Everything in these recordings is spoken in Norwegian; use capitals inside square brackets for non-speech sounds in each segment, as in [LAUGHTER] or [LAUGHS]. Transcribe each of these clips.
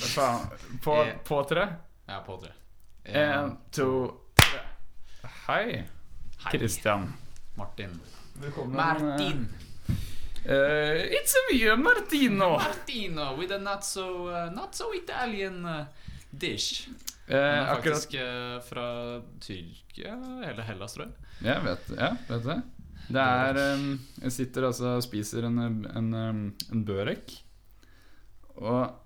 faen. På, Eh. på tre. Ja, på tre. Eh, Én, to, tre. Hei, Hei, Christian. Martin. Velkommen. Martin! Eh, ikke så [LAUGHS] mye Eh, Martino. Martino eh, with a not so, uh, not so Italian uh, dish. Han Eh, er akkurat faktisk eh, fra Tyrkia eller Hellas, tror jeg. Jeg vet, ja, vet det. Det er em, Jeg sitter altså og spiser en, en, em, en børek. Og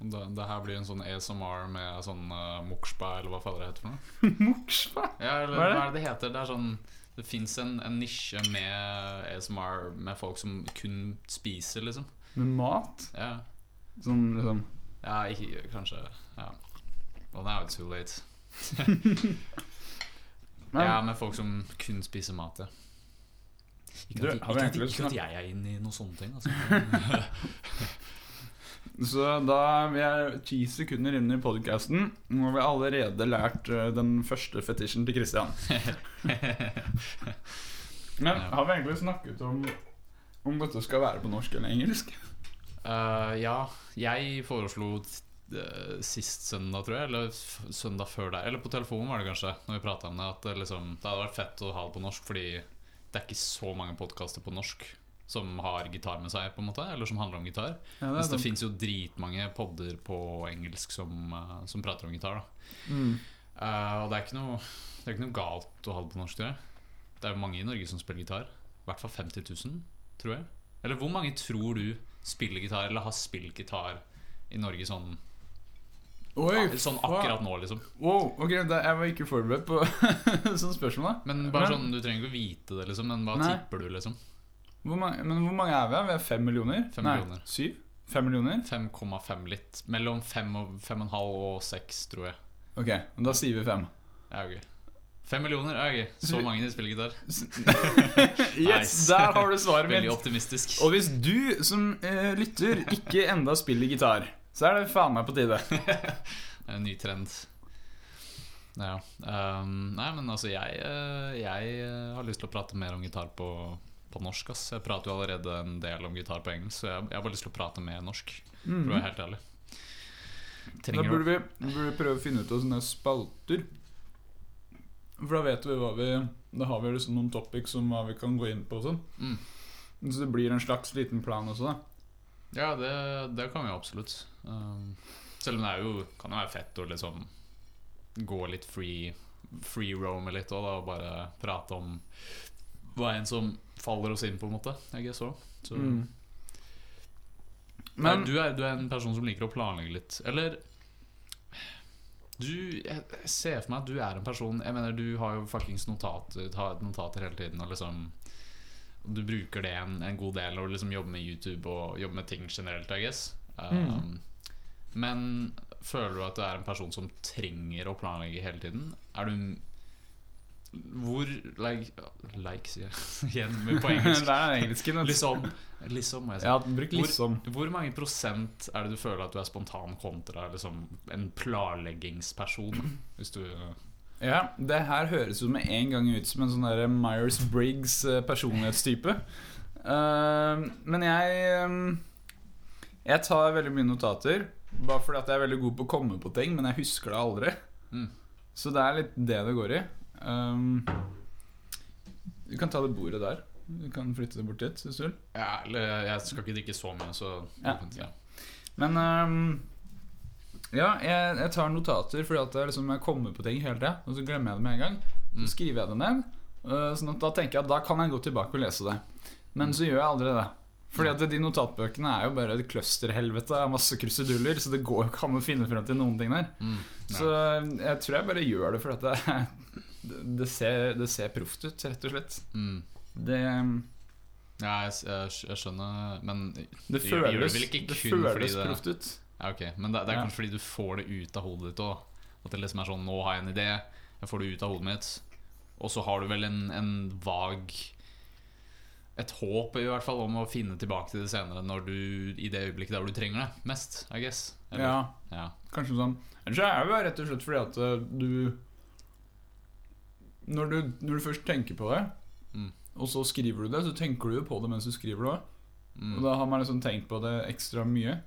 Og Det, det her blir en sånn ASMR med sånn uh, mokspa, eller hva faen det heter for noe. morsva! Ja, eller Hva hva er det? er det det heter? Det er sånn Det fins en, en nisje med ASMR med folk som kun spiser, liksom. Med mat. Ja, Sånn liksom ja ikke, kanskje Ja. Well, now it's too late. Nei, Ja, med folk som kun spiser mat, ja. Ikke Du, at, har vi ikke, at, egentlig lyst ikke til at å jeg er inne i noen sånne ting, [LAUGHS] altså. Så da vi er ti sekunder inne i podkasten, og vi har allerede lært eh, den første fetisjen til Christian. Men Ja. har vi egentlig snakket om om dette skal være på norsk eller engelsk? Eh, ja, jeg foreslo eh, sist søndag, tror jeg, eller f søndag før deg, eller på telefonen var det kanskje, når vi prata om det, at det, liksom, det hadde vært fett å ha det på norsk, fordi det er ikke så mange podkaster på norsk som har gitar med seg, på en måte, eller som handler om gitar. Ja, Mens det fins jo dritmange podder på engelsk som, eh, som prater om gitar, da. mm. Eh, og det er ikke noe Det er ikke noe galt å ha det på norsk, tror jeg. Det er jo mange i Norge som spiller gitar. I hvert fall 50 000, tror jeg. Eller hvor mange tror du spiller gitar, eller har spilt gitar i Norge sånn, Oi, sånn faen. akkurat nå, liksom? Wow, ok, da, jeg var ikke forberedt på [LAUGHS] sånne spørsmål. da. Men bare Men- sånn, Du trenger ikke å vite det, liksom, men hva Nei. tipper du, liksom? Hvor mange, men hvor mange er vi? da? Vi er fem millioner? Fem millioner. syv? Fem millioner? 5,5 litt. Mellom 5 og 5,5 og 6, tror jeg. Ok, da sier vi fem. [LAUGHS] Ja, ok. 5 millioner? Ja, ok. Så mange de spiller gitar. Yes, Nice. der har du [LAUGHS] svaret Veldig mitt. optimistisk. Og hvis du som eh, lytter ikke enda spiller gitar, så er det faen meg på [LAUGHS] tide. En ny trend. Ja. ehm, nei, men altså, jeg, eh, jeg eh, har lyst til å prate mer om gitar på, på norsk. Ass. Jeg prater jo allerede en del om gitar på engelsk, så jeg, jeg har bare lyst til å prate mer norsk. For å være helt ærlig. Mhm. Da Trenger burde vi, burde vi prøve å finne ut av sånne spalter. For da vet vi hva vi Da har vi liksom noen topics som hva vi kan gå inn på og sånn. Mm. Så det blir en slags liten plan også, da. Ja, det, det kan vi jo absolutt. Ehm, selv om det er jo, kan jo være fett å liksom gå litt free, free roame litt òg, og bare prate om hva enn som faller oss inn, på en måte. Jeg guess også. så. Mm. Men, du, er, du er en person som liker å planlegge litt. Eller du, Jeg ser for meg at du er en person Jeg mener, du har jo fuckings notater, har notater hele tiden, og liksom Du bruker det en, en god del, og liksom jobber med YouTube og jobber med ting generelt, I guess. Um, Mm. Men føler du at du er en person som trenger å planlegge hele tiden? Er du Hvor Like, like sier jeg [LAUGHS] igjen, men på [LAUGHS] engelsk. Det er engelsken. vet du. Liksom, liksom må jeg si. Ja, bruk Hvor- liksom. Hvor mange prosent er det du føler at du er spontan kontra liksom, en planleggingsperson? Hvis du Ja, det her høres jo med en gang ut som en sånn der Myers-Briggs eh, personlighetstype. Ehm, men jeg ehm, Jeg tar veldig mye notater. Bare fordi at jeg er veldig god på å komme på ting, men jeg husker det aldri. Mm. Så det er litt det det går i. Ehm, du kan ta det bordet der. Du kan flytte det bort dit hvis du vil. Ja, eller jeg skal ikke drikke så mye, så Ja. Men ehm, ja, jeg, jeg tar notater fordi at jeg, liksom, jeg kommer på ting hele tida, og så glemmer jeg det med en gang. Så Mm. skriver jeg det ned. øh, Sånn at da tenker jeg at da kan jeg gå tilbake og lese det. Men så gjør jeg aldri det. Fordi at de notatbøkene er jo bare et clusterhelvete av masse kruseduller, så det går jo ikke an å finne frem til noen ting der. Mm, ja. Så jeg tror jeg bare gjør det fordi at det, det, ser, det ser proft ut, rett og slett. mm. Det, ehm, ja jeg, s- jeg, skj- jeg skjønner, men det Det gjør- gjør det føles, vel ikke det kun fordi føles det- proft ut. ja, ok. Men det, det er Ja. kanskje fordi du får det ut av hodet ditt òg. At det liksom er sånn Nå har jeg en idé, jeg får det ut av hodet mitt. Og så har du vel en, en vag Et håp i hvert fall om å finne tilbake til det senere, når du, i det øyeblikket der hvor du trenger det mest, I guess. Ja, ja. kanskje sånn. Eller så er det jo rett og slett fordi at øh, du Når du, når du først tenker på det, Mm. og så skriver du det, så tenker du jo på det mens du skriver det òg. Mm. Og da har man liksom tenkt på det ekstra mye.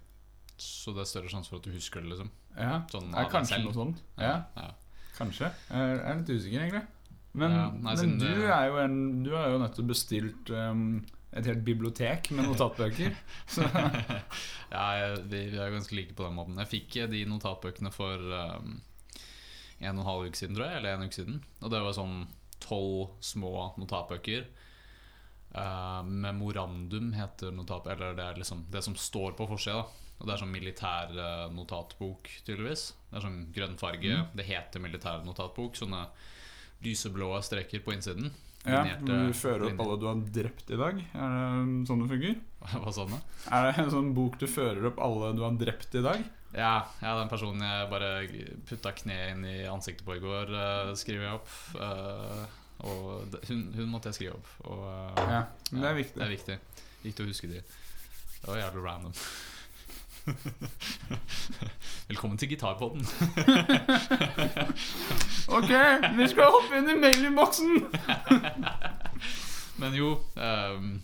så det er større sjanse for at du husker det, liksom. Ja, Sånn det av er deg kanskje selv. noe sånt. Ja, ja. [LAUGHS] kanskje. Jeg er litt usikker, egentlig. Men, Ja, nei, men siden du, det- er jo en, du har jo nettopp bestilt um, et helt bibliotek med notatbøker. [LAUGHS] Så ja, jeg- vi, vi er ganske like på den måten. Jeg fikk eh, de notatbøkene for um, en og en halv uke siden, tror jeg. Eller en uke siden. Og det var sånn tolv små notatbøker. Eh, memorandum heter notatbøker. Eller det er liksom det som står på forsida. da. Og det er sånn militær eh, notatbok, tydeligvis. Det er sånn grønn farge. Mm. Det heter militær notatbok. Sånne lyseblå streker på innsiden. [LAUGHS] ja, Linjerte du fører opp linjer. alle du har drept i dag. Er det sånn det fungerer? Hva sa du nå? Er det en sånn bok du fører opp alle du har drept i dag? Ja, ja, den personen jeg bare putta kneet inn i ansiktet på i går, eh, skriver jeg opp. Eh, og det, hun, hun måtte jeg skrive opp. Og, eh, Ja, men det ja, er viktig. Det er viktig. Viktig å huske de. Det var jævlig random. [LAUGHS] Velkommen til gitarpodden. Ok, vi skal hoppe inn i mailinnboksen! Men jo ehm,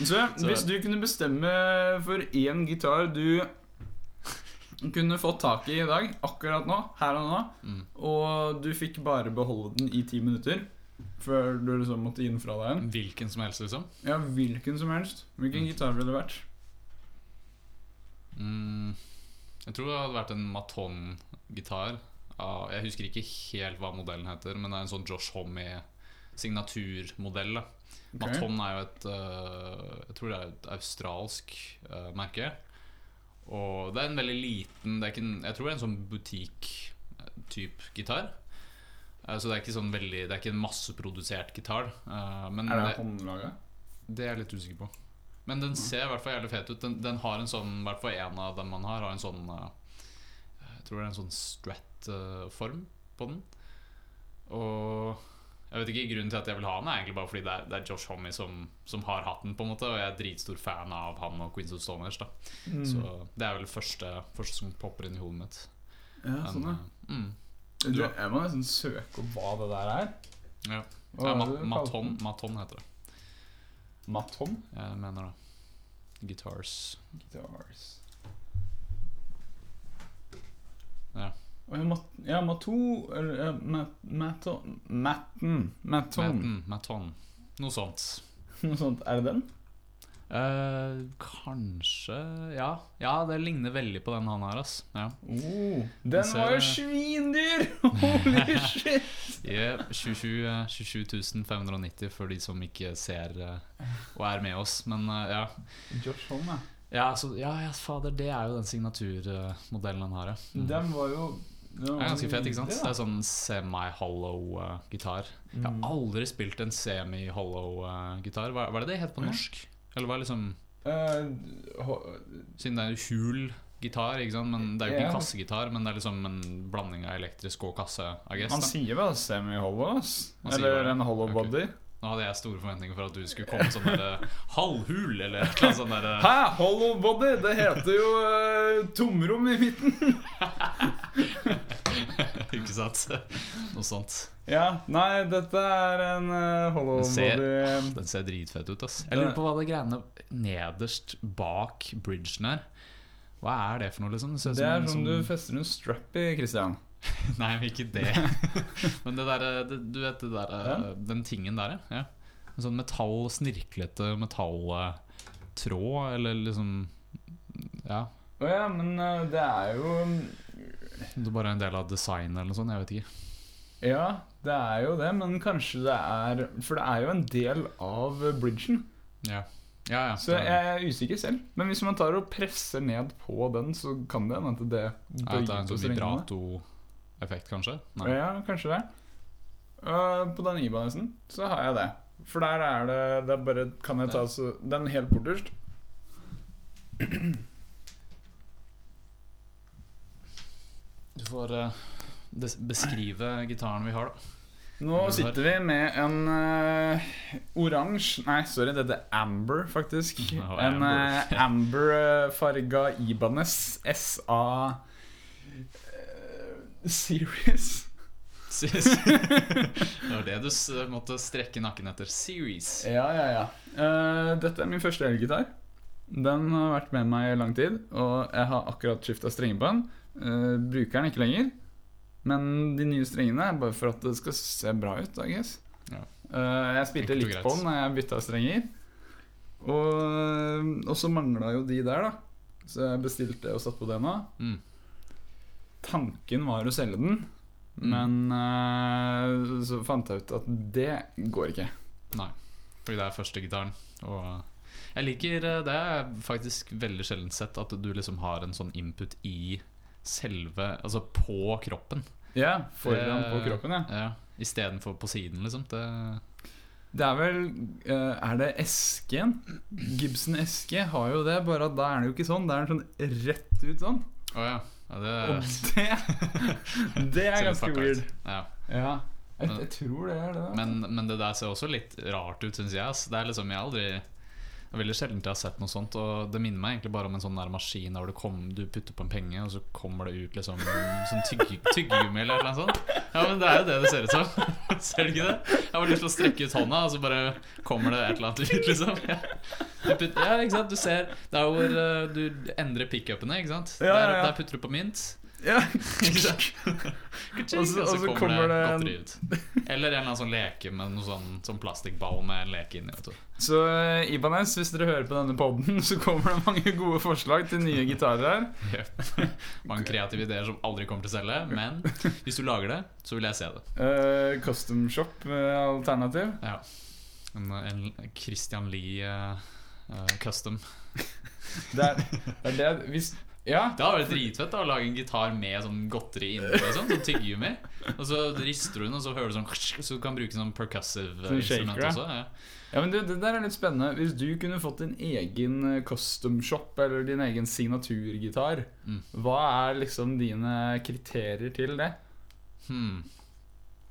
Så Så- hvis du kunne bestemme for én gitar du kunne fått tak i i dag, akkurat nå, her og nå, mm, og du fikk bare beholde den i ti minutter før du liksom måtte gi den fra deg igjen Hvilken som helst, liksom. Ja, hvilken som helst. Hvilken Mm. gitar ville det vært? Mm, jeg tror det hadde vært en Maton-gitar. av- Jeg husker ikke helt hva modellen heter, men det er en sånn Josh Homme-signaturmodell. da. Ok. Maton er jo et øh, Jeg tror det er et australsk øh, merke. Og det er en veldig liten det er ikke en, Jeg tror det er en sånn butikk-type gitar. Eh, Så det er ikke sånn veldig Det er ikke en masseprodusert gitar. eh, Men Er det det, håndlaga? det er jeg litt usikker på. Men den ser i hvert fall jævlig fet ut. Den, den har en sånn, i hvert fall en av dem man har, har en sånn eh, Jeg tror det er en sånn strat-form på den. Og jeg vet ikke grunnen til at jeg vil ha den, er egentlig bare fordi det er, det er Josh Homme som, som har hatt den, på en måte. Og jeg er dritstor fan av han og Queens of Stoners, da. Mm. Så det er vel det første, første som popper inn i hodet mitt. Ja, Men, sånn, ja. eh, mm. Du, jeg må nesten søke opp hva det der er. Ja. Hva Ja, er Ma det du kaller Maton, den? Maton heter det. Maton? Jeg mener det. Guitars. Guitars. Ja. Og jeg mat, ja, Mato eller, eh, mat, Maton Matten. Maton. Maton. Maton. mm, Noe sånt. [LAUGHS] Noe sånt. Er det den? Eh, kanskje ja. ja, det ligner veldig på den han her, ass. Ja. Oh, Jeg den ser var jo det. svindyr! [LAUGHS] [LAUGHS] Holy shit! Yeah, 27, eh, 27 590 for de som ikke ser eh, og er med oss. Men eh, ja. Josh Holm, ja. Ja, så, ja, ja, fader, det er jo den signaturmodellen han har, ja. Mm. Den var jo den Det er ganske fet, ikke sant? Det Ja. er sånn semi-hollow-gitar. Jeg har Mm. aldri spilt en semi-hollow-gitar. Hva, hva er det det heter på Ja. norsk? Eller hva er liksom Eh, ho- Siden det er jo hul gitar, ikke sant? Men det er jo ikke Ja. en kassegitar, men det er liksom en blanding av elektrisk og kasse, I guess. han da. sier vel semi-hollow, ass? Han sier Eller bare- en hollow ok. body? Nå hadde jeg store forventninger for at du skulle komme sånn der eh, halvhul, eller et eller annet sånt der eh, Hæ? Hollow body? Det heter jo eh, tomrom i midten. Ikke sant? [LAUGHS] Noe sånt. Ja, nei, dette er en eh, hollow Den ser- body Den ser dritfett ut, ass. Jeg lurer på hva det greiene nederst bak bridgen er. Hva er det for noe, liksom? ser ut Det er en som du sånn- fester en strap i, Christian. Nei, men ikke [LAUGHS] det. Men det derre Du vet det derre Ja. Den tingen der, ja. En sånn metall, snirklete metalltråd, eller liksom Ja. Å ja, men eh, det er jo om Det bare er en del av designet eller noe sånt. Jeg vet ikke. Ja, det er jo det, men kanskje det er For det er jo en del av eh, bridgen. Ja, ja. ja Så det er- jeg er usikker selv. Men hvis man tar og presser ned på den, så kan det hende at det ja, at det er bøyer en på sånn strengene. vibratoeffekt, kanskje? Nei. Ja, kanskje det. Øh, på den ibanesen så har jeg det. For der er det Det er bare Kan jeg ta så, den helt borterst? Du får eh, des- beskrive gitaren vi har, [LAUGHS] da. Nå Den her. sitter vi med en øh, oransje Nei, sorry, dette er amber, faktisk. Ja, en amber. øh, amber-farga Ibanes SA øh, Series. Series. [LAUGHS] det var det du s måtte strekke nakken etter. Series. Ja, ja, ja. Eh, dette er min første elgitar. Den har vært med meg i lang tid, og jeg har akkurat skifta strenger på den. Eh, bruker den ikke lenger, men de nye strengene er bare for at det skal se bra ut. I guess. Ja. Eh, jeg spilte Enkelt og litt greit. på den da jeg bytta strenger, og, eh, og så mangla jo de der, da. Så jeg bestilte og satte på det nå. Mm. Tanken var å selge den, Mm. men eh, så fant jeg ut at det går ikke. Nei, fordi det er første gitaren. Og jeg liker eh, det. er faktisk veldig sjelden sett at du liksom har en sånn input i selve Altså på kroppen. Ja, foran på Eh, kroppen, ja. Ja, Istedenfor på siden, liksom. Det, Det er vel eh, Er det esken? Gibson Eske har jo det, bare at da er det jo ikke sånn. Da er den sånn rett ut sånn. å ja. ja det, Og det Det ser er litt ganske fucka ut. weird. Ja. Ja. Jeg, jeg tror det er det. da. Men, men det der ser også litt rart ut, syns jeg. ass. Det er liksom, jeg har aldri det er Veldig sjelden jeg har sett noe sånt. Og Det minner meg egentlig bare om en sånn der maskin der du, kom, du putter på en penge, og så kommer det ut liksom en sånn tygge, tyggegummi eller noe sånt. Ja, men det er jo det det ser ut som. [LAUGHS] Ser du ikke det? Jeg har lyst til å strekke ut hånda, og så bare kommer det et eller annet ut, liksom. Ja, du putter, ja ikke sant. Du ser Det er hvor eh, du endrer pickupene, ikke sant. Ja, ja, Der, ja. der putter du på mynt. Ja. Ikke sant? Og så- og så kommer det en- godteri ut. Eller en eller annen sånn leke med noe sånn, sånn plastikkball med en leke inni. Vet du. Så eh, Ibanez, hvis dere hører på denne poden, [LAUGHS] så kommer det mange gode forslag til nye gitarer her. Jep. Mange kreative ideer som aldri kommer til å selge. Men hvis du lager det, så vil jeg se det. Eh, custom Shop eh, alternativ. Ja. En, en Christian Lie eh, eh, custom. Det er det, er det hvis, Ja. Det hadde vært dritfett da, å lage en gitar med sånn godteri inni. og Sånn, sånn tyggegummi. Og så rister du den, og så hører du sånn Så du kan bruke sånn percussive eh, Sånn shaker, instrument ja. også. Ja. Ja, men du, Det der er litt spennende. Hvis du kunne fått din egen eh, custom shop eller din egen signaturgitar, Mm. hva er liksom dine kriterier til det? Hmm.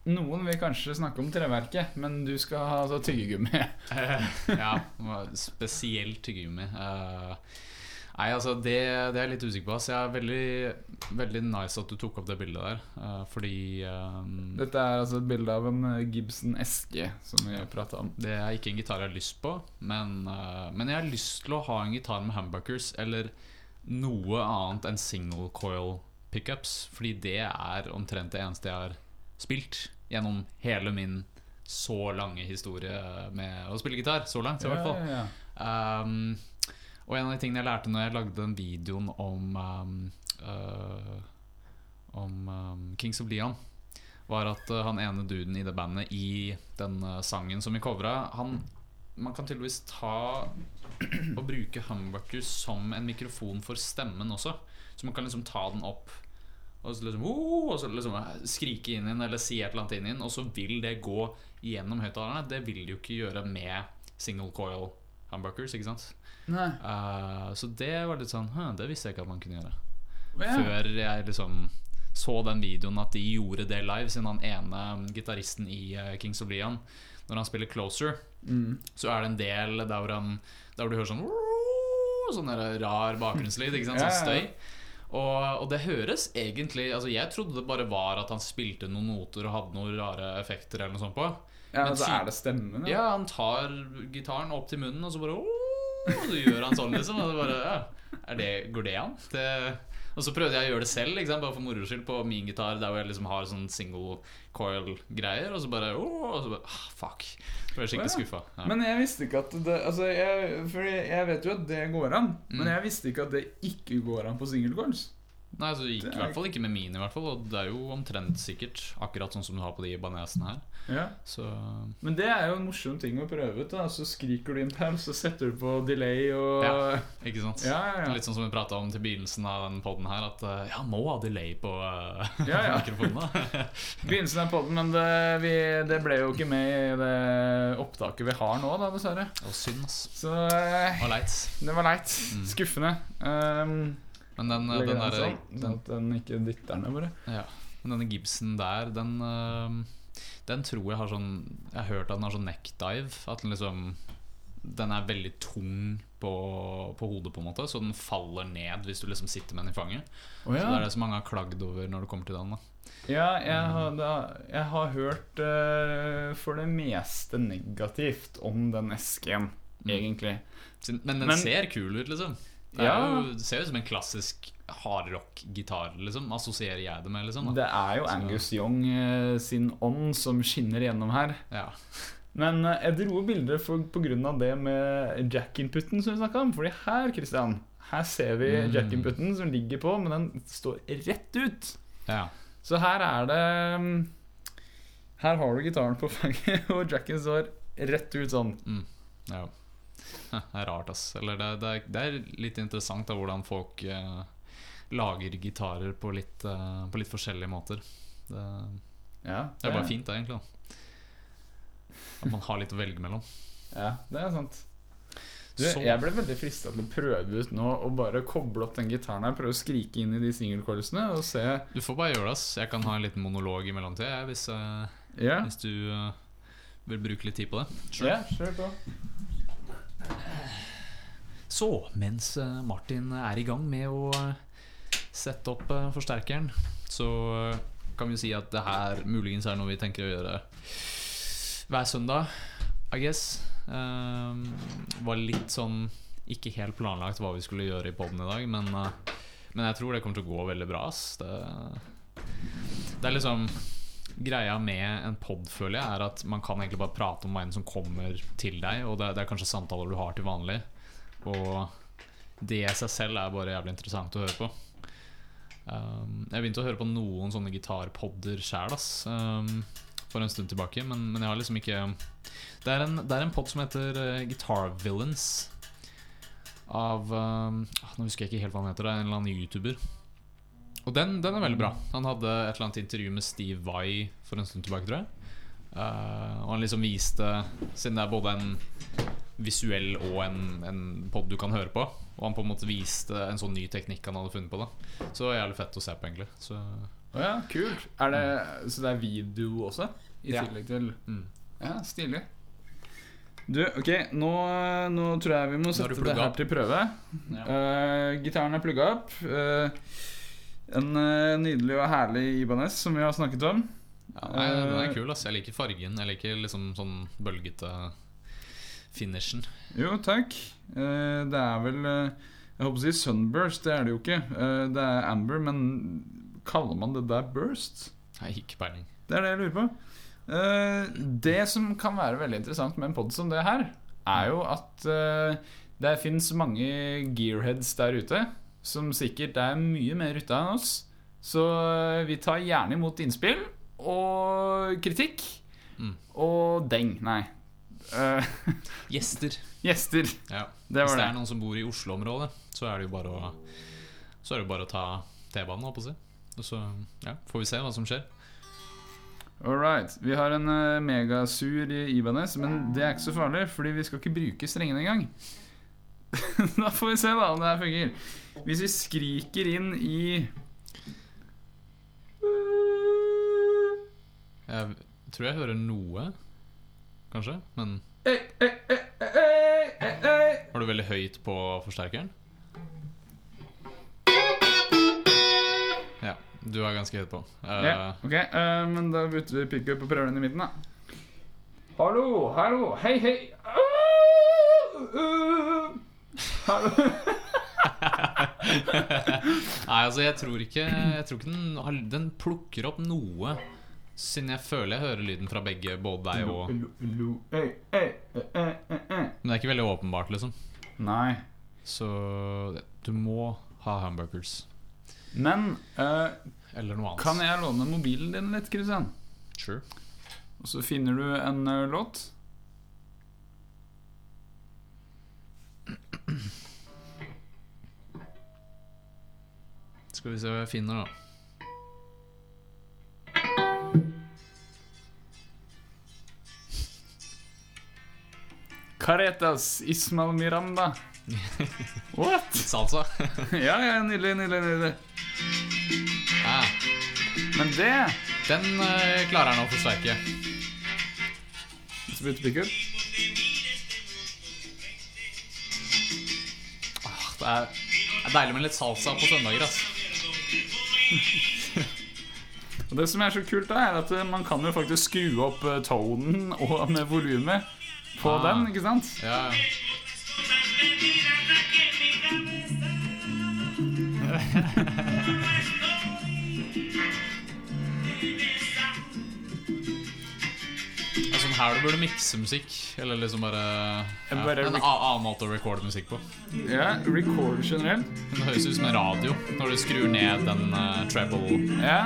Noen vil kanskje snakke om treverket, men du skal ha altså, tyggegummi. [LAUGHS] Eh, [LAUGHS] ja, spesielt tyggegummi. Eh, nei, altså, det, det er jeg litt usikker på. Så jeg er veldig, veldig nice at du tok opp det bildet der, eh, fordi eh, Dette er altså et bilde av en eh, Gibson eske som vi prata om. det er ikke en gitar jeg har lyst på, men, eh, men jeg har lyst til å ha en gitar med humbuckers eller noe annet enn single coil pickups, fordi det er omtrent det eneste jeg har spilt gjennom hele min så lange historie med å spille gitar. Så langt, i hvert fall. Ja, ja, Um, og en av de tingene jeg lærte når jeg lagde den videoen om um, øh, Om um, Kings of Leon, var at uh, han ene duden i det bandet i den uh, sangen som vi covra, han Man kan tydeligvis ta [CLEARS THROAT] og bruke humbucker som en mikrofon for stemmen også. Så man kan liksom ta den opp og så liksom, «Woo!» og så liksom skrike inn i den, eller si et eller annet inn i den, og så vil det gå gjennom høyttalerne. Det vil det jo ikke gjøre med single coil humbuckers, ikke sant? ja. Nei. Eh, så det var litt sånn «Hm, Det visste jeg ikke at man kunne gjøre. Ja. Før jeg liksom så den videoen at de gjorde det live, siden han ene gitaristen i eh, Kings of Leon, når han spiller Closer, Mm. så er det en del der hvor, han, der hvor du hører sånn Sånn der rar bakgrunnslyd, ikke sant? Sånn Ja, ja, ja. støy. Og, og det høres egentlig Altså Jeg trodde det bare var at han spilte noen noter og hadde noen rare effekter eller noe sånt på. ja, Men altså sy- er det stemmen? Ja, han tar gitaren opp til munnen, og så bare «Åh», Og så gjør han sånn, liksom. Og det bare, ja, er det, går det an? Det, og så prøvde jeg å gjøre det selv, ikke sant? bare for moro skyld, på min gitar, der hvor jeg liksom har sånn single coil-greier. Og så bare «Åh», Og så bare ah, Fuck. Så ble jeg skikkelig Å, ja. skuffa. Ja. Men jeg visste ikke at det Altså, jeg, for jeg, jeg vet jo at det går an, men Mm. jeg visste ikke at det ikke går an på singlegårds. Nei, så det gikk det i er- hvert fall ikke med min, i hvert fall. Og det er jo omtrent sikkert akkurat sånn som du har på de banesene her. Ja. Så Men det er jo en morsom ting å prøve ut. da Så skriker du inn der, og så setter du på delay og Ja, Ja. ikke sant. ja, ja. Litt sånn som vi prata om til begynnelsen av den poden her, at eh, ja, må ha delay på uh, [LAUGHS] Ja, ja. mikrofonene. Begynnelsen av podden, men det, vi, det ble jo ikke med i det opptaket vi har nå, da, dessverre. Og synd, ass. Så eh, Og leit. det var leit. Mm. Skuffende. Um, Men den, eh, den, der, sånn, sånn den, at den ikke dytter ned, bare. ja. Men denne Gibson der, den, eh, den tror jeg har sånn Jeg har hørt at den har sånn neckdive. At den liksom Den er veldig tung på, på hodet, på en måte. Så den faller ned hvis du liksom sitter med den i fanget. Så det er det som mange har klagd over når det kommer til den. da Ja, Mm. jeg har, da, jeg har hørt eh, for det meste negativt om den esken. Mm. egentlig. Sin- Men den Men- ser kul ut, liksom. Det, er Ja. jo, det ser jo ut som en klassisk hardrock-gitar, liksom. Assosierer jeg det med, liksom. Da. Det er jo Angus Young eh, sin ånd som skinner gjennom her. Ja. Men eh, jeg dro bilder for, på grunn av det med jack-inputen som vi snakka om. Fordi her, Christian, her ser vi Mm. jack-inputen som ligger på, men den står rett ut. ja. [LAUGHS] Så her er det mm, Her har du gitaren på fanget, [LAUGHS] og jacken står rett ut sånn. ja. Det er rart, ass. Eller det, det, er- det er litt interessant da, hvordan folk eh, lager gitarer på litt, eh, på litt forskjellige måter. Det, Ja, det er bare fint, det, egentlig. Da. At man har litt å velge mellom. Ja, det er sant. Du, Så- jeg ble veldig frista til å prøve ut nå å bare koble opp den gitaren her. Prøve å skrike inn i de singelkorusene og se Du får bare gjøre det, ass. Jeg kan ha en liten monolog i mellomtida, jeg, hvis, eh, Ja, hvis du eh, vil bruke litt tid på det. ja kjør på. Så, mens eh, Martin er i gang med å eh, sette opp eh, forsterkeren, så eh, kan vi jo si at det her muligens er noe vi tenker å gjøre hver søndag, I guess. Um, var litt sånn ikke helt planlagt hva vi skulle gjøre i poden i dag, men, eh, men jeg tror det kommer til å gå veldig bra. Ass. Det, det er liksom Greia med en pod, føler jeg, er at man kan egentlig bare prate om hva enn som kommer til deg, og det, det er kanskje samtaler du har til vanlig. Og det i seg selv er bare jævlig interessant å høre på. Um, jeg begynte å høre på noen sånne gitarpodder sjæl um, for en stund tilbake, men, men jeg har liksom ikke Det er en, det er en pod som heter eh, Guitar Villains. Av um, ah, Nå husker jeg ikke helt hva han heter. Det er En eller annen YouTuber. Og den, den er veldig bra. Han hadde et eller annet intervju med Steve Vai for en stund tilbake, tror jeg. Eh, og han liksom viste Siden det er både en visuell og en, en pod du kan høre på. Og han på en måte viste en sånn ny teknikk han hadde funnet på. da Så det var jævlig fett å se på, egentlig. Så, Å ja, kult. Er det, så det er video også? I Ja. tillegg til mm. Ja, stilig. Du, ok, nå, nå tror jeg vi må Nå har du sette det plugget her opp. til prøve. Eh, gitaren er plugga opp. Eh, en eh, nydelig og herlig Ibanez som vi har snakket om. ja, nei, Eh, den er kul, ass. Jeg liker fargen. Jeg liker liksom sånn bølgete finishen. Jo, takk. Eh, det er vel eh, Jeg håper å si sunburst, det er det jo ikke. Eh, det er amber, men kaller man det der burst? Nei, ikke peiling. Det er det jeg lurer på. Eh, det som kan være veldig interessant med en pod som det her, er jo at eh, det fins mange gearheads der ute som sikkert er mye mer ute enn oss. Så eh, vi tar gjerne imot innspill og kritikk. Mm. Og deng, nei. Eh, [LAUGHS] Gjester. gjester. Ja. Det Hvis var det det. er noen som bor i Oslo-området, så er det jo bare å Så er det jo bare å ta T-banen, holdt på å si. Og så ja, får vi se hva som skjer. All right. Vi har en eh, megasur i Ibanez, men det er ikke så farlig, fordi vi skal ikke bruke strengene engang. [LAUGHS] da får vi se da om det her fungerer. Hvis vi skriker inn i Jeg tror jeg hører noe, kanskje. Men Ei, ei, ei, ei, ei, ei. har du veldig høyt på forsterkeren? Ja, du er ganske høyt på. Eh, Ja, ok, eh, men da bytter vi pickup og prøver den i midten, da. Hallo, hallo, hei, hei. Au, au. Hallo. [LAUGHS] [LAUGHS] Nei, altså, jeg tror ikke, jeg tror ikke den, har, den plukker opp noe. Siden jeg føler jeg hører lyden fra begge, både deg og Lo, lo, ei, ei, ei, ei, ei, ei. Men det er ikke veldig åpenbart, liksom. Nei. Så det- du må ha hamburgers. Men eh, Eller noe annet. Kan jeg låne mobilen din litt, Kristian? Sure. Og så finner du en ø, låt. Skal vi se hva jeg finner, da. Caretas Ismael Miranda. [LAUGHS] What? Salsa. Ja, ja, nydelig, nydelig, nydelig. [LAUGHS] Ja, Men det den eh, klarer han å forsterke. Så bytter pickup. Ah, Det er, det er deilig med litt salsa på søndager, ass. Og det som er så kult, da, er at ø, man kan jo [LAUGHS] faktisk skru opp ø, tonen og eh, med volumet på Ah. den, ikke sant? Ja. ja. Det er sånn her du burde mikse musikk. Eller liksom bare, ja, Bare En rec- a- annen måte å recorde musikk på. Ja, record generelt. Men det høres ut som en radio når du skrur ned den eh, treble, Ja.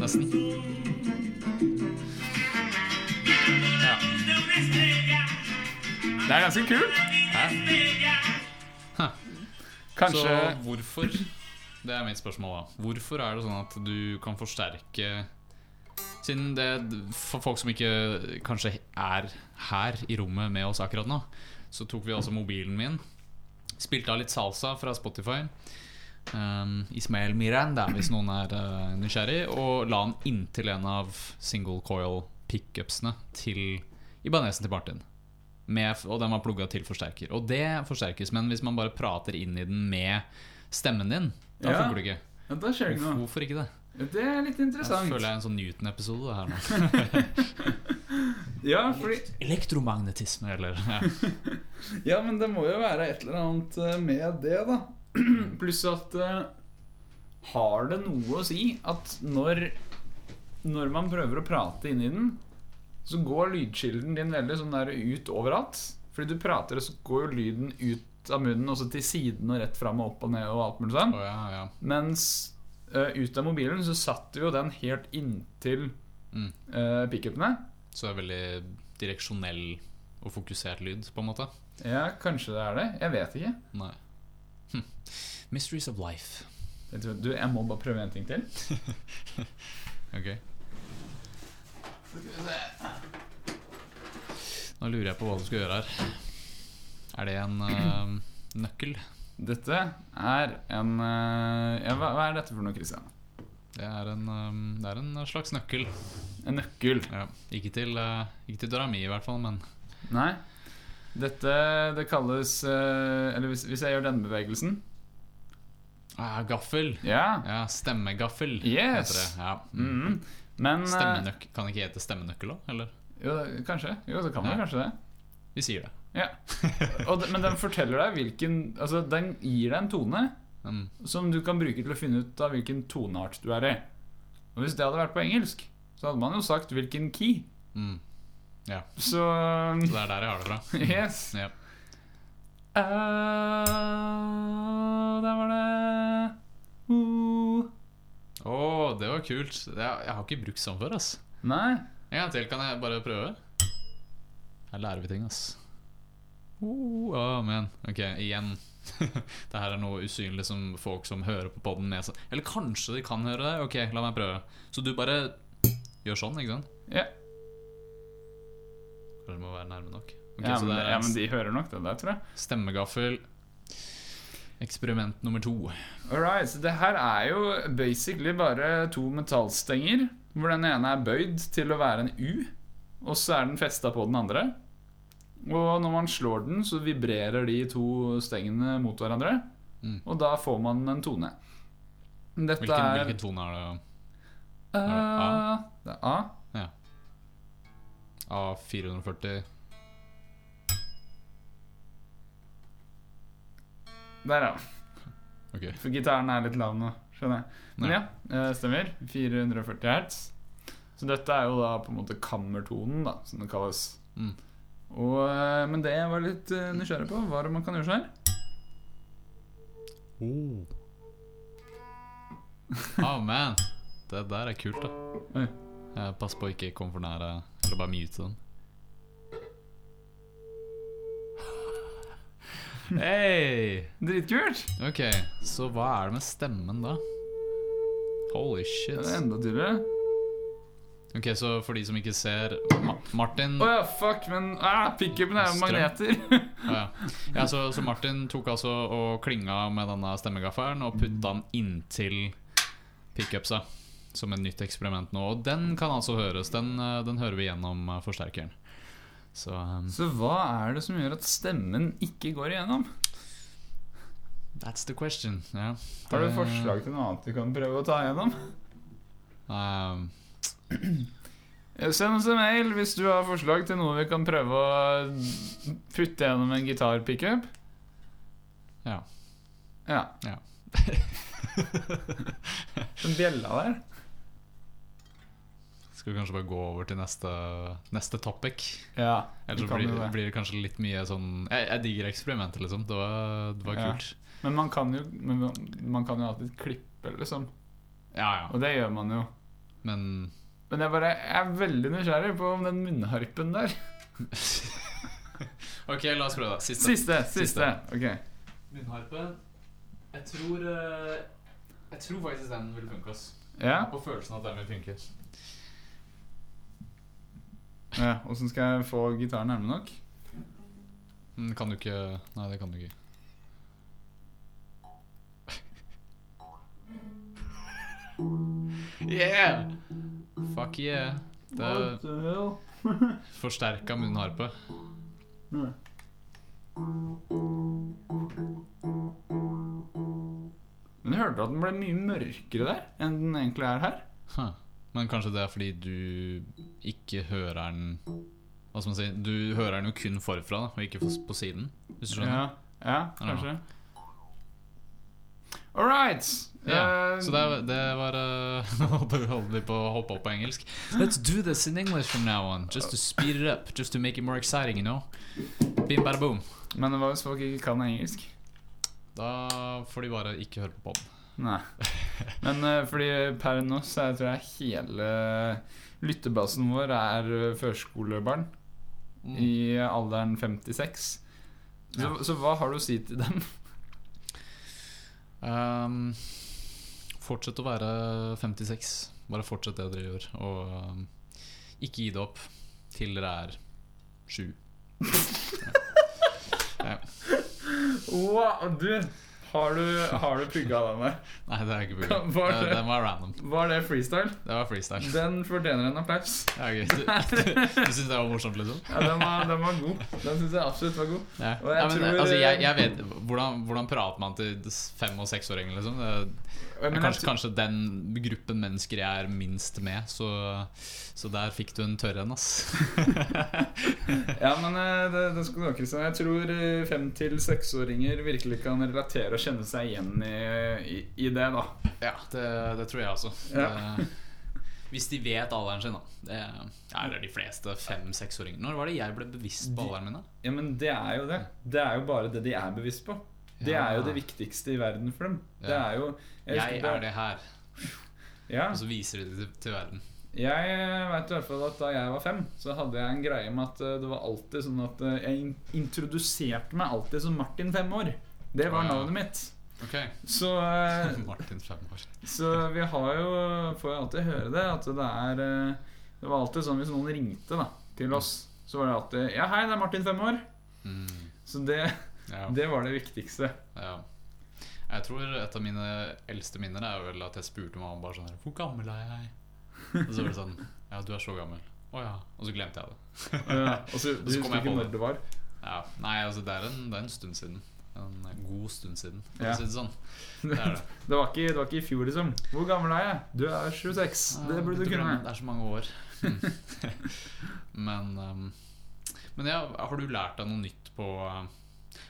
nesten. Ja. Det er ganske kult. Hæ? Så Kanskje hvorfor Det er mitt spørsmål, da. Hvorfor er det sånn at du kan forsterke Siden det For folk som ikke kanskje er her i rommet med oss akkurat nå, så tok vi altså mobilen min. Spilte av litt salsa fra Spotify. Um, Ismael Miranda, hvis noen er eh, nysgjerrig. Og la den inntil en av single coil pickupsene til Ibanesen til Martin. Med, og den var plugga til forsterker. Og det forsterkes, men hvis man bare prater inn i den med stemmen din, da Ja. funker det ikke. ja, Da skjer det ikke noe. Hvorfor ikke det? Det er litt Jeg interessant. føler jeg er en sånn Newton-episode det her nå. [LAUGHS] Ja, fordi, Elektromagnetisme, eller ja. ja, men det må jo være et eller annet eh, med det, da. [CLEARS THROAT] Pluss at eh, Har det noe å si at når Når man prøver å prate inn i den, så går lydkilden din veldig sånn der ut overalt. Fordi du prater, og så går jo lyden ut av munnen, og så til siden og rett fram og opp og ned og alt mulig sånn. Å, ja, ja. Mens eh, ut av mobilen så satt jo den helt inntil Mm. eh, pickupene. Så det er veldig direksjonell og fokusert lyd, på en måte. Ja, kanskje det er det. Jeg vet ikke. Nei. Hm. Mysteries of life. Jeg tror, du, jeg må bare prøve en ting til. Ok. Nå lurer jeg på hva du skal gjøre her. Er det en eh, nøkkel? Dette er en eh, ja, hva, hva er dette for noe, Christian? Det er en, eh, det er en slags nøkkel. En nøkkel. Ja. Ikke til, eh, ikke til døra mi, i hvert fall, men Nei. Dette det kalles eh, Eller hvis, hvis jeg gjør denne bevegelsen ah, Gaffel! Ja. Ja, stemmegaffel Yes. heter det. Ja. Mm. Men eh, Stemmenøk kan ikke hete stemmenøkkel òg, eller? Jo, kanskje. Jo, det kan jo Ja. kanskje det. Vi sier det. Ja. [LAUGHS] Og, det- men den forteller deg hvilken Altså, den gir deg en tone. Mm. som du kan bruke til å finne ut av hvilken toneart du er i. Og Hvis det hadde vært på engelsk, så hadde man jo sagt hvilken key. Mm. Så [LAUGHS] Så det er der jeg har det fra. yes. Ja. Ah, Eh, der var det Uh. Å, det var kult. Jeg, jeg har ikke brukt sånn før, ass. Nei. En gang til, kan jeg bare prøve? Her lærer vi ting, ass. Oh, oh, men. Ok, igjen. [LAUGHS] det her er noe usynlig som folk som hører på podden med seg Eller kanskje de kan høre det? Ok, la meg prøve. Så du bare gjør sånn, ikke sant? Ja. Kanskje det må være nærme nok. Ok, ja, så men, det er ja, men de hører nok det der, tror jeg. stemmegaffel. Eksperiment nummer to. Alright, så det her er jo basically bare to metallstenger, hvor den ene er bøyd til å være en U, og så er den festa på den andre. Og når man slår den, så vibrerer de to stengene mot hverandre, Mm. og da får man en tone. Dette Hvilken, er hvilken tone er det? Æ, A? Det er A. A440 Der, ja. Ok. For gitaren er litt lav nå, skjønner jeg. Men Nei. ja, eh, stemmer. 440 hertz. Så dette er jo da på en måte kammertonen, da, som det kalles. Mm. Og, eh, men det jeg var litt eh, nysgjerrig på, var om man kan gjøre sånn her. Oh. oh man, det der er kult da Oi. Eh, Pass på å ikke komme for nære Eller bare mute sånn. [LAUGHS] den Hei Dritkult! Ok, så hva er det med stemmen da? Holy Det shit er enda tydeligere. Ok, så for de som ikke ser Ma Martin Å ja, fuck, men ah, pickupen er jo Strøm. magneter. [LAUGHS] Ja, ja så, så Martin tok altså og klinga med denne stemmegaffelen og putta den inntil pickupsa. Som et nytt eksperiment nå. Og den kan altså høres. Den, eh, den hører vi gjennom eh, forsterkeren. Så um, Så hva er det som gjør at stemmen ikke går igjennom? that's the question. Ja. Har du Det- forslag til noe annet du kan prøve å ta igjennom? Um, Eh, Send oss en mail hvis du har forslag til noe vi kan prøve å putte gjennom en gitarpickup. [LAUGHS] Ja. Ja. Ja. Den bjella der. Skal vi kanskje bare gå over til neste, neste topic? Ja, Ellers vi så kan blir, jo det. blir det kanskje litt mye sånn Jeg, jeg digger eksperimentet, liksom. Det var, det var Ja. kult. Men man kan jo, men man- man kan jo alltid klippe, liksom. Ja, ja. Og det gjør man jo. Men [LAUGHS] Men jeg, bare, jeg er veldig nysgjerrig på om den munnharpen der OK, la oss prøve, da. Siste. Siste! Siste! Ok. Munnharpe. Jeg tror eh, Jeg tror faktisk den vil funke. ass Ja, På følelsen at den vil funke. ja. Åssen skal jeg få gitaren nærme nok? Men Mm, kan du ikke Nei, det kan du ikke. [LAUGHS] Yeah! Fuck yeah. Det er forsterka munnharpe. Men jeg hørte at den ble mye mørkere der enn den egentlig er her. Huh. Men kanskje det er fordi du ikke hører den Hva skal man si? Du hører den jo kun forfra, da, og ikke f- på siden. Hvis du skjønner? Ja, ja kanskje. All right. Ja, Eh, Så det, er- det var eh, [LAUGHS] Nå holder vi på å hoppe opp på engelsk. Let's do this in English from now on. Just to speed it up. Just to make it more exciting, you know. Bim, bada, boom. Men hva hvis folk ikke kan engelsk? Da får de bare ikke høre på podden. Nei. [LAUGHS] Men eh, fordi per nå så er- tror jeg hele lyttebasen vår er eh, førskolebarn i alderen 56. Så, Ja. så hva har du å si til dem? Um, fortsett å være 56. Bare fortsett det dere gjør. Og um, ikke gi det opp til dere er sju. [LAUGHS] Wow, du! Har du, har du pugga den der? Nei, det er ikke mulig. [LAUGHS] Var det- Den var random. Var det freestyle? Det var freestyle. Den fortjener en applaus. Det [LAUGHS] er gøy. Du, du, du syns det var morsomt, liksom? Ja, den, var, den var god. Den syns jeg absolutt var god. Ja. Og jeg Nei, men, tror- eh, altså, jeg, jeg vet, hvordan, hvordan prater man til fem- og seksåringer, liksom? Det, er Men jeg kanskje, tror- kanskje den gruppen mennesker jeg er minst med, så, så der fikk du en tørr en, ass. [LAUGHS] Ja, men eh, det, det skal du ha, Kristian. Jeg tror eh, fem- til seksåringer virkelig kan relatere og kjenne seg igjen i, i, i det, da. Ja, det, det tror jeg også. Ja. Det, hvis de vet alderen sin, da. Det, ja, eller de fleste fem-seksåringer. Når var det jeg ble bevisst på De- alderen min? da? Ja, men det er jo det. Det er jo bare det de er bevisst på. Det Ja. er jo det viktigste i verden for dem. Det Ja. er jo Jeg husker er det Altså- her. Ja. Og så viser de det til, til verden. Jeg eh, vet i hvert fall at da jeg var fem, så hadde jeg en greie med at eh, det var alltid sånn at eh, jeg in- introduserte meg alltid som Martin fem år. Det var Ah, ja. navnet mitt. Ok, Så, eh, Martin fem år. så vi har jo Får jo alltid høre det, at det er eh, Det var alltid sånn hvis noen ringte da til oss, så var det alltid Ja, hei, det er Martin fem år. Mm, Så det, ja, det var det viktigste. ja. Jeg tror et av mine eldste minner er vel at jeg spurte mamma bare sånn her, Hvor gammel er jeg? Og så var det sånn Ja, du er så gammel. Å ja. Og så glemte jeg det. Eh, og så, Og du så kom husker jeg på ikke det. når det var. Ja, Nei, altså, det er en, det er en stund siden. En god stund siden, for Ja. å si det sånn. Det Det er det. var, ikke, det var ikke i fjor, liksom. Hvor gammel er jeg? Du er 26. Det Ja, burde du dette kunne. programmet- Det er så mange år. [LAUGHS] men um, men ja, har du lært deg noe nytt på uh,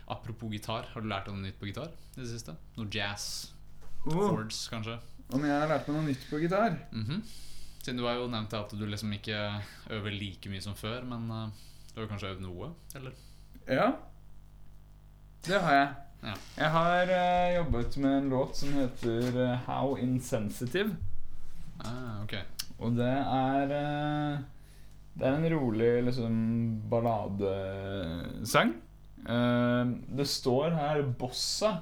Apropos gitar, har du lært deg noe nytt på gitar i det siste? Noe jazz? Oh. Chords, kanskje? Om jeg har lært meg noe nytt på gitar? Mhm. Siden du har jo nevnt at du liksom ikke øver like mye som før, men uh, du har kanskje øvd noe? Eller? Ja. Det har jeg. Ja. Jeg har eh, jobbet med en låt som heter eh, How Insensitive. Ah, ok. Og det er eh, Det er en rolig liksom balladesang. Eh, det står her bossa,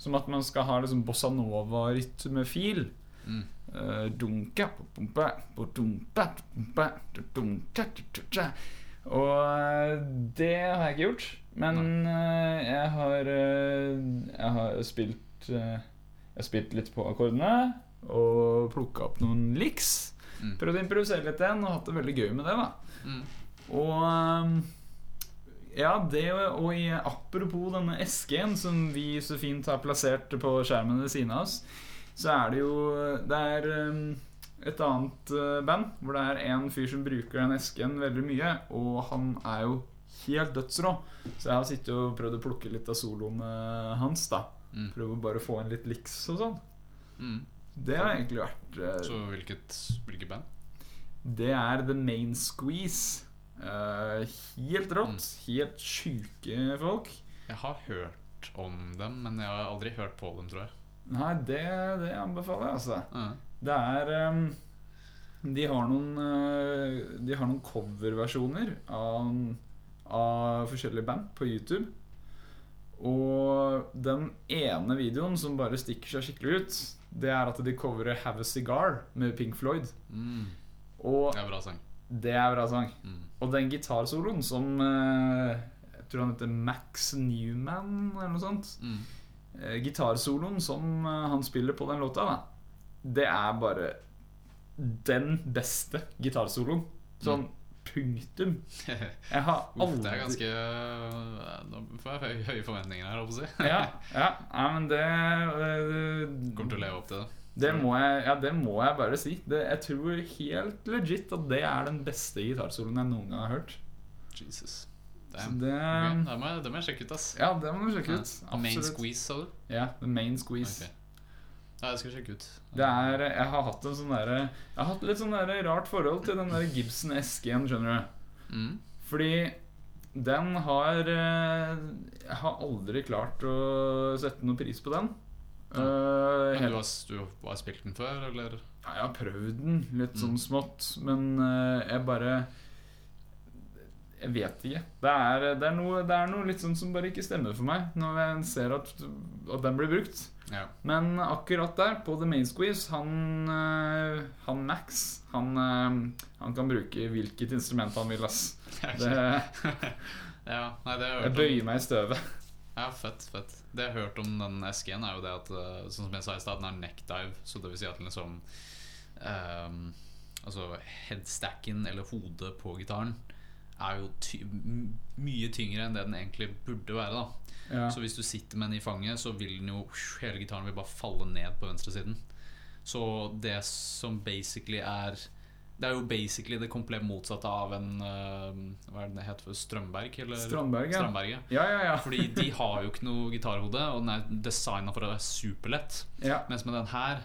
som at man skal ha liksom bossa nova-rytmefil. Mm. Eh, dunka, pumpa, pumpa, pumpa, dunka, tja-tja-tja. Og eh, det har jeg ikke gjort. Men eh, jeg har eh, Jeg har spilt eh, Jeg har spilt litt på akkordene og plukka opp noen liks. Mm. Prøvd å improvisere litt igjen og hatt det veldig gøy med det. da Mm. Og ehm, ja, det og og i, apropos denne esken som vi så fint har plassert på skjermen ved siden av oss, så er det jo Det er ehm, et annet eh, band hvor det er en fyr som bruker den esken veldig mye, og han er jo helt dødsrå. Så jeg har sittet og prøvd å plukke litt av soloene hans, da. Mm. Prøve å bare få inn litt liks og sånn. Mm. Det har egentlig vært eh, Så hvilket, hvilket band? Det er The Main Squeeze. Eh, helt rått. Helt sjuke folk. Jeg har hørt om dem, men jeg har aldri hørt på dem, tror jeg. Nei, det, det anbefaler jeg, altså. Ja. Det er ehm, De har noen eh, De har noen coverversjoner av, av forskjellige band på YouTube. Og den ene videoen som bare stikker seg skikkelig ut, det er at de coverer 'Have a Cigar' med Pink Floyd. Mm. Og Det er en bra [LAUGHS] sang. det er bra sang. Mm. Og den gitarsoloen som eh, Jeg tror han heter Max Newman eller noe sånt. Mm. Eh, Gitarsoloen som eh, han spiller på den låta, da, det er bare den beste gitarsoloen. Sånn punktum. Jeg har Uff, aldri det er ganske eh, Nå får jeg høy- høye forventninger her, holdt jeg på å si. [LAUGHS] ja, ja, ja, men det eh, [LAUGHS] Kommer til å leve opp til det. Det må jeg, ja, det må jeg bare si. Det, jeg tror helt legit at det er den beste gitarsoloen jeg noen gang har hørt. Jesus. Så Damn. det, Ok, det, um, må jeg, det må jeg sjekke ut, ass. ja, det må du sjekke ut. Ja. Main Absolutt. squeeze, sa du? Ja, The Main Squeeze. Ok. Ja, jeg skal sjekke ut. Det er, jeg har hatt en sånn derre Jeg har hatt litt sånn derre rart forhold til den der Gibson SG-en, skjønner du. Mm. Fordi den har eh, Jeg har aldri klart å sette noe pris på den. Eh, Men du helt, har, s- du har spilt den før, eller? ja, jeg har prøvd den litt sånn Mm. smått, men eh, jeg bare Jeg vet ikke. Det er, det, er noe, det er noe litt sånn som bare ikke stemmer for meg, når jeg ser at, at den blir brukt. Ja. [LAUGHS] Men akkurat der, på The Main Squeeze, han, eh, han Max han, eh, han kan bruke hvilket instrument han vil, ass. Det, [LAUGHS] ja, nei, det har jeg jeg hørt om. bøyer meg i støvet. [LAUGHS] Ja, fett, fett. Det jeg har hørt om den SG-en, er jo det at eh, Sånn som jeg sa i stad, den har neckdive, så det vil si at den liksom ehm, Altså headstacken, eller hodet på gitaren, er jo ty m- mye tyngre enn det den egentlig burde være. da Ja. Så hvis du sitter med den i fanget, så vil den jo Hele gitaren vil bare falle ned på venstresiden. Så det som basically er Det er jo basically det komplett motsatte av en eh, Hva er det det heter? for- Strømberg? Eller? Strandberg, ja. Strømberg, ja. Ja, ja, ja. Fordi de har jo ikke noe gitarhode, og den er designa for å være superlett. [LAUGHS] ja. Mens med den her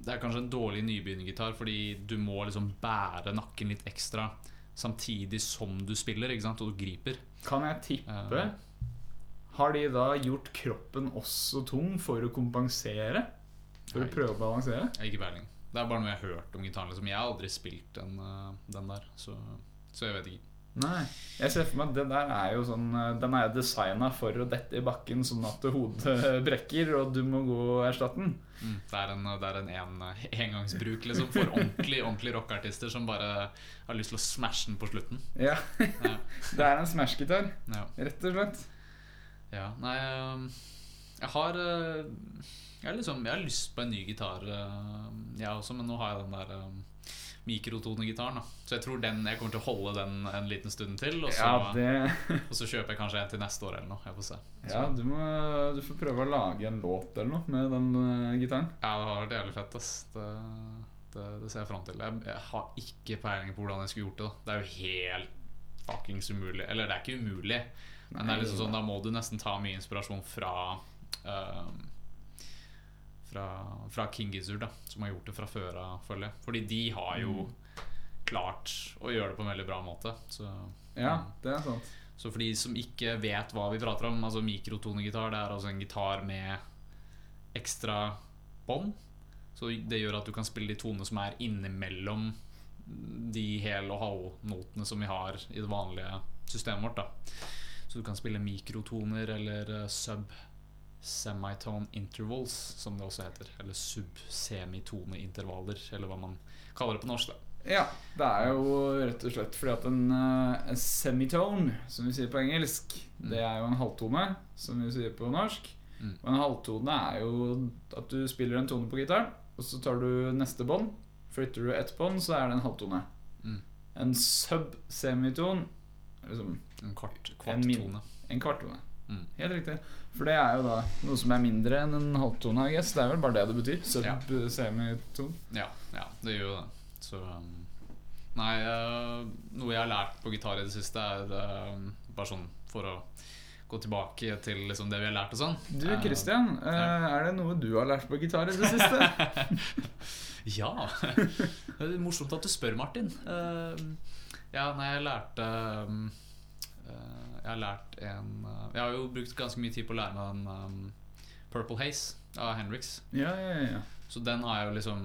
Det er kanskje en dårlig nybegynnergitar, fordi du må liksom bære nakken litt ekstra samtidig som du spiller, ikke sant, og du griper. Kan jeg tippe Har de da gjort kroppen også tung for å kompensere? For å Nei. prøve å balansere? Jeg har ikke peiling. Det er bare noe jeg har hørt om gitaren. Liksom. Jeg har aldri spilt den, eh, den der, så, så jeg vet ikke. Nei. Jeg ser for meg at den der er jo sånn eh, Den er designa for å dette i bakken sånn at hodet brekker, og du må gå og erstatte den. Mm. Det er en, det er en, en eh, engangsbruk liksom, for [LAUGHS] ordentlig, ordentlig rockeartister som bare har lyst til å smashe den på slutten. Ja. Ja. [LAUGHS] Det er en Smash-gitar, Ja. rett og slett. Ja, nei øhm, Jeg har øh, jeg, har liksom, jeg har lyst på en ny gitar, øh, jeg også, men nå har jeg den der øhm, mikrotonegitaren. da. Så jeg tror den, jeg kommer til å holde den en liten stund til. Og så, Ja, det [LAUGHS] og så kjøper jeg kanskje en til neste år eller noe. Jeg får se. Ja, du må du får prøve å lage en låt eller noe med den eh, gitaren. Ja, det har vært jævlig fett. ass Det, det, det ser jeg fram til. Jeg, jeg har ikke peiling på hvordan jeg skulle gjort det. da Det er jo helt fuckings umulig. Eller det er ikke umulig, men det Nei, er liksom det- sånn da må du nesten ta mye inspirasjon fra ehm, Fra, fra King Gizzard, da som har gjort det fra før av, føler jeg. Fordi de har jo klart å gjøre det på en veldig bra måte. Så Mm. Ja, Mm. det er sant. så for de som ikke vet hva vi prater om, altså mikrotonegitar, det er altså en gitar med ekstra bånd. Så det gjør at du kan spille de tonene som er innimellom de hel- og halvnotene som vi har i det vanlige systemet vårt. Da. Så du kan spille mikrotoner eller eh, sub semitone intervals, som det også heter. Eller sub-semitone-intervaller, eller hva man kaller det på norsk. Da. Ja, det er jo rett og slett fordi at en eh, en semitone, som vi sier på engelsk, det er jo en halvtone, som vi sier på norsk. Mm. Og en halvtone er jo at du spiller en tone på gitaren, og så tar du neste bånd. Flytter du ett bånd, så er det en halvtone. Mm. En sub-semiton liksom, En kvart, En kvart min- tone. En kvarttone. Mm. Helt riktig. For det er jo da noe som er mindre enn en halvtone. I guess. Det er vel bare det det betyr. Sub, Ja. semiton. Ja, ja det gjør jo det. Så um, Nei, eh, noe jeg har lært på gitar i det siste, er eh, bare sånn for å gå tilbake til liksom det vi har lært og sånn. Du, Eh, Christian, eh, er det noe du har lært på gitar i det siste? [LAUGHS] Ja. [LAUGHS] Det er morsomt at du spør, Martin. Eh, ja, nei, jeg lærte um, eh, Jeg har lært en eh, Jeg har jo brukt ganske mye tid på å lære meg den um, Purple Haze av Henriks. ja, ja, ja. Så den har jeg jo liksom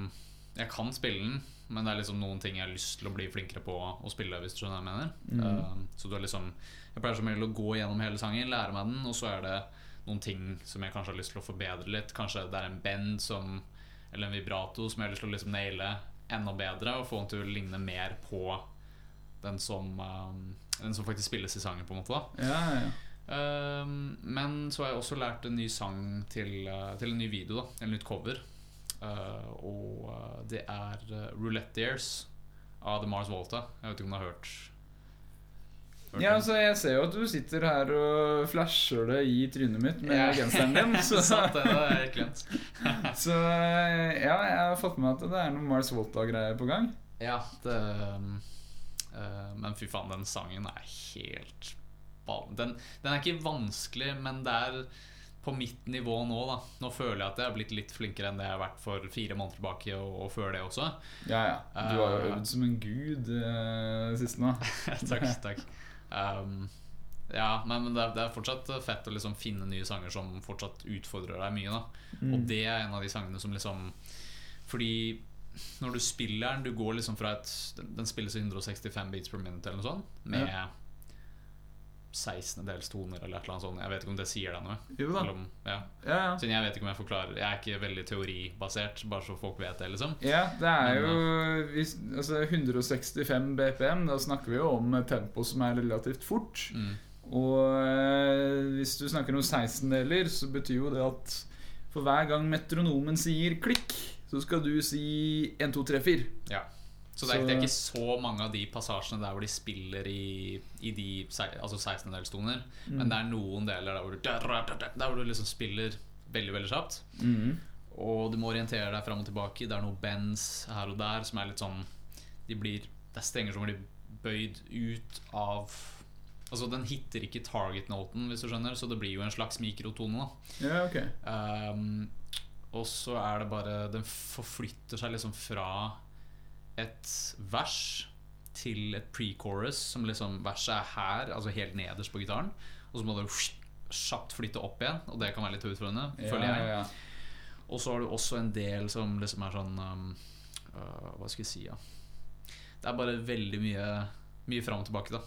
Jeg kan spille den, men det er liksom noen ting jeg har lyst til å bli flinkere på å spille. Hvis du skjønner hva jeg mener Eh, Så du er liksom Jeg pleier som regel å gå gjennom hele sangen, lære meg den, og så er det noen ting som jeg kanskje har lyst til å forbedre litt. Kanskje det er en bend som Eller en vibrato som jeg har lyst til å liksom naile enda bedre og få den til å ligne mer på den som, eh, den som faktisk spilles i sangen, på en måte. da ja, ja. Ehm, men så har jeg også lært en ny sang til, eh, til en ny video, da. En nytt cover. Eh, og eh, det er eh, Roulette Dears av The Mars Volta. Jeg vet ikke om du har hørt, hørt Ja, den? altså Jeg ser jo at du sitter her og flasher det i trynet mitt med Ja. genseren [LAUGHS] din. Så, Sant, det, det er helt glemt. så eh, ja, jeg har fått med meg at det er noe Mars Volta-greier på gang. Ja, det ehm, eh, Men fy faen, den sangen er helt ball... Den, den er ikke vanskelig, men det er på mitt nivå nå, da. Nå føler jeg at jeg har blitt litt flinkere enn det jeg har vært for fire måneder tilbake, og, og før det også. Ja, ja. Du har jo øvd som en gud eh, sist nå. [LAUGHS] takk, takk. Um, ja, men, men det, er, det er fortsatt fett å liksom finne nye sanger som fortsatt utfordrer deg mye. Da. Mm. Og det er en av de sangene som liksom Fordi når du spiller den, du går liksom fra et Den, den spilles i 165 beats per minute eller noe sånt, med 16-dels toner eller et eller annet sånt. Jeg vet ikke om det sier deg noe. Jo da. Eller om, ja. Ja, ja. Siden jeg vet ikke om jeg forklarer Jeg er ikke veldig teoribasert, bare så folk vet det, liksom. Ja, det er jo hvis, altså 165 BPM. Da snakker vi jo om et tempo som er relativt fort. Mm. Og eh, hvis du snakker om 16-deler, så betyr jo det at for hver gang metronomen sier klikk, så skal du si 1, 2, 3, 4. Ja. Så det er, Så- det er ikke så mange av de passasjene der hvor de spiller i, i de se- altså 16-delstoner. Men det er noen deler der hvor, du, der hvor du liksom spiller veldig veldig kjapt. Og du må orientere deg fram og tilbake. Det er noen bends her og der som er litt sånn De blir Det er strenger som blir bøyd ut av Altså Den hitter ikke target-noten, hvis du skjønner, så det blir jo en slags mikrotone. da Ja, ok. Ehm, og så er det bare Den forflytter seg liksom fra et vers til et pre-chorus, som liksom verset er her, altså helt nederst på gitaren. Og så må det kjapt flytte opp igjen, og det kan være litt utfordrende. føler jeg. Ja, ja, Og så har du også en del som liksom er sånn um, øh, Hva skal jeg si, ja. Det er bare veldig mye Mye fram og tilbake, da.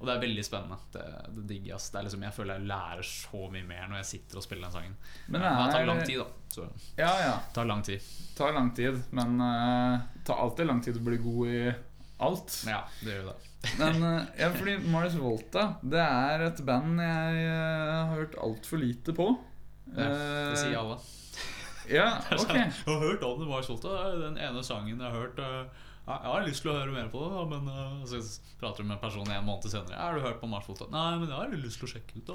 Og det er veldig spennende. Det, det digger jeg. ass. Det er liksom, jeg føler jeg lærer så mye mer når jeg sitter og spiller den sangen. Men Men det, tar er- lang tid, da. Så det ja. ja, ja. tar lang tid. Tar lang tid. Men uh, tar alltid lang tid å bli god i alt. Ja, det gjør jo det. Men eh, ja, fordi Mars Volta Det er et band jeg eh, har hørt altfor lite på. Eh, Ja, det sier alle. [LAUGHS] Ja, Eh, ok. Jeg har hørt om det var solgt, det er den ene sangen jeg har hørt. øh, Jeg jeg har lyst til å høre mer på det, da, men øh, så prater du med en person en måned senere. Ja, 'Har du hørt på Marsvolta?' 'Nei, men jeg har litt lyst til å sjekke ut', da.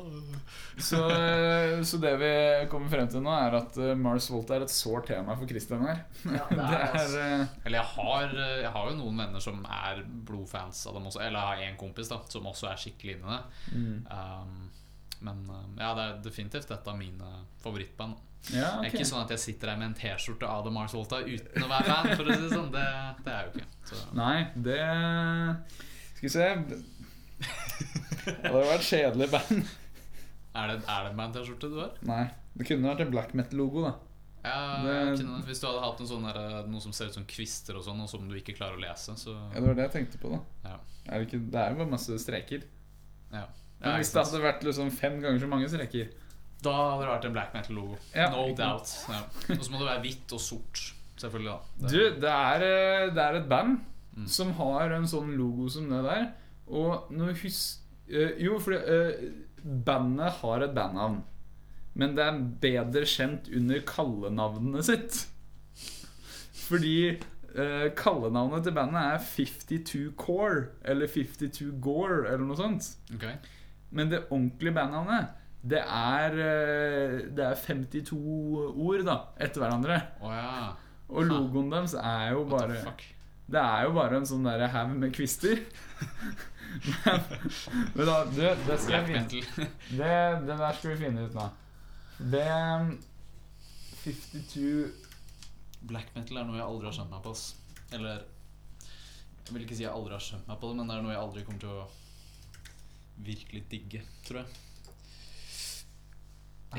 Så, eh, så det vi kommer frem til nå, er at eh, Mars Volta er et sårt tema for Christian her. [LAUGHS] det er eh, Eller jeg har, eh, jeg har jo noen venner som er blodfans av dem også. Eller jeg har én kompis da som også er skikkelig inne i det. Mm. Um, men um, ja, det er definitivt et av mine favorittband. Ja, Det er ok. ikke sånn at jeg sitter her med en T-skjorte av The Mars Volta uten å være fan. For å si det sånn, det, det er jo ikke. Så. Nei, det Skal vi se Det hadde vært et kjedelig band. [LAUGHS] Er det, er det en band-T-skjorte du har? Nei. Det kunne vært en black metal-logo, da. Ja, Det- jeg kunne- Hvis du hadde hatt en sånn der, noe som ser ut som kvister og sånn, og som du ikke klarer å lese, så Ja, Det var det jeg tenkte på, da. Ja. Er det, ikke, det er jo bare masse streker. ja. Men Ja, hvis det ikke sant? hadde vært liksom fem ganger så mange streker Da hadde det vært en black metal-logo. Ja, no ikke doubt. Ja. Og så må det være hvitt og sort, selvfølgelig. da Du, det er, eh, det er et band Mm. som har en sånn logo som det der. Og nå husk eh, Jo, for bandet har et bandnavn. Men det er bedre kjent under kallenavnet sitt. Fordi eh, kallenavnet til bandet er 52 Core eller 52 Gore eller noe sånt. Ok, Men det ordentlige bandnavnet, det er, eh, det er 52 ord da, etter hverandre. Å ja. Og logoen deres er jo What bare the fuck? Det er jo bare en sånn der haug med kvister. Men da, du, det skal jeg Black finne metal. [LAUGHS] det, det der skal vi finne ut nå. Det 52 Black metal er noe jeg aldri har skjønt meg på. ass. Eller Jeg vil ikke si jeg aldri har skjønt meg på det, men det er noe jeg aldri kommer til å virkelig digge, tror jeg.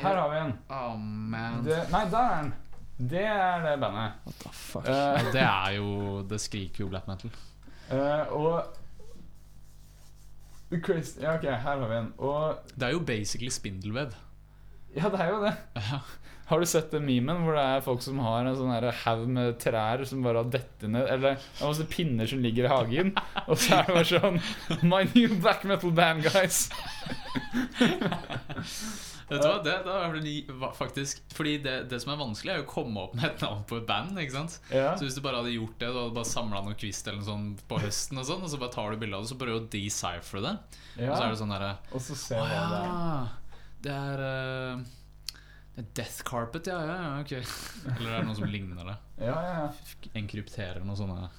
Her har vi en. Oh, man. Det, nei, der er den. Det er det bandet. What the fuck? Eh. Ja, det er jo Det skriker jo black metal. Eh, og Chris, Ja, ok, her har vi en. Og Det er jo basically [LAUGHS] spindelvev. Ja, det er jo det. Har du sett den memen hvor det er folk som har en sånn her haug med trær som bare har dette ned Eller det er masse pinner som ligger i hagen, og så er det bare sånn My new black metal band, guys. Vet du hva, det, da er det ni- va- faktisk Fordi det, det som er vanskelig, er jo å komme opp med et navn på et band. ikke sant? Ja. Så hvis du bare hadde gjort det, du hadde bare samla noen kvist eller noe sånt på høsten, og sånn Og så bare tar du bilde av det, så prøver du å deciphere det. Og så er ja. det sånn derre Og så ser Å vi hva det er. ja, det er eh, det er Death Carpet, ja, ja, ja, ok. Eller er det noe som ligner det? Ja, ja, ja. Enkrypterer noen sånne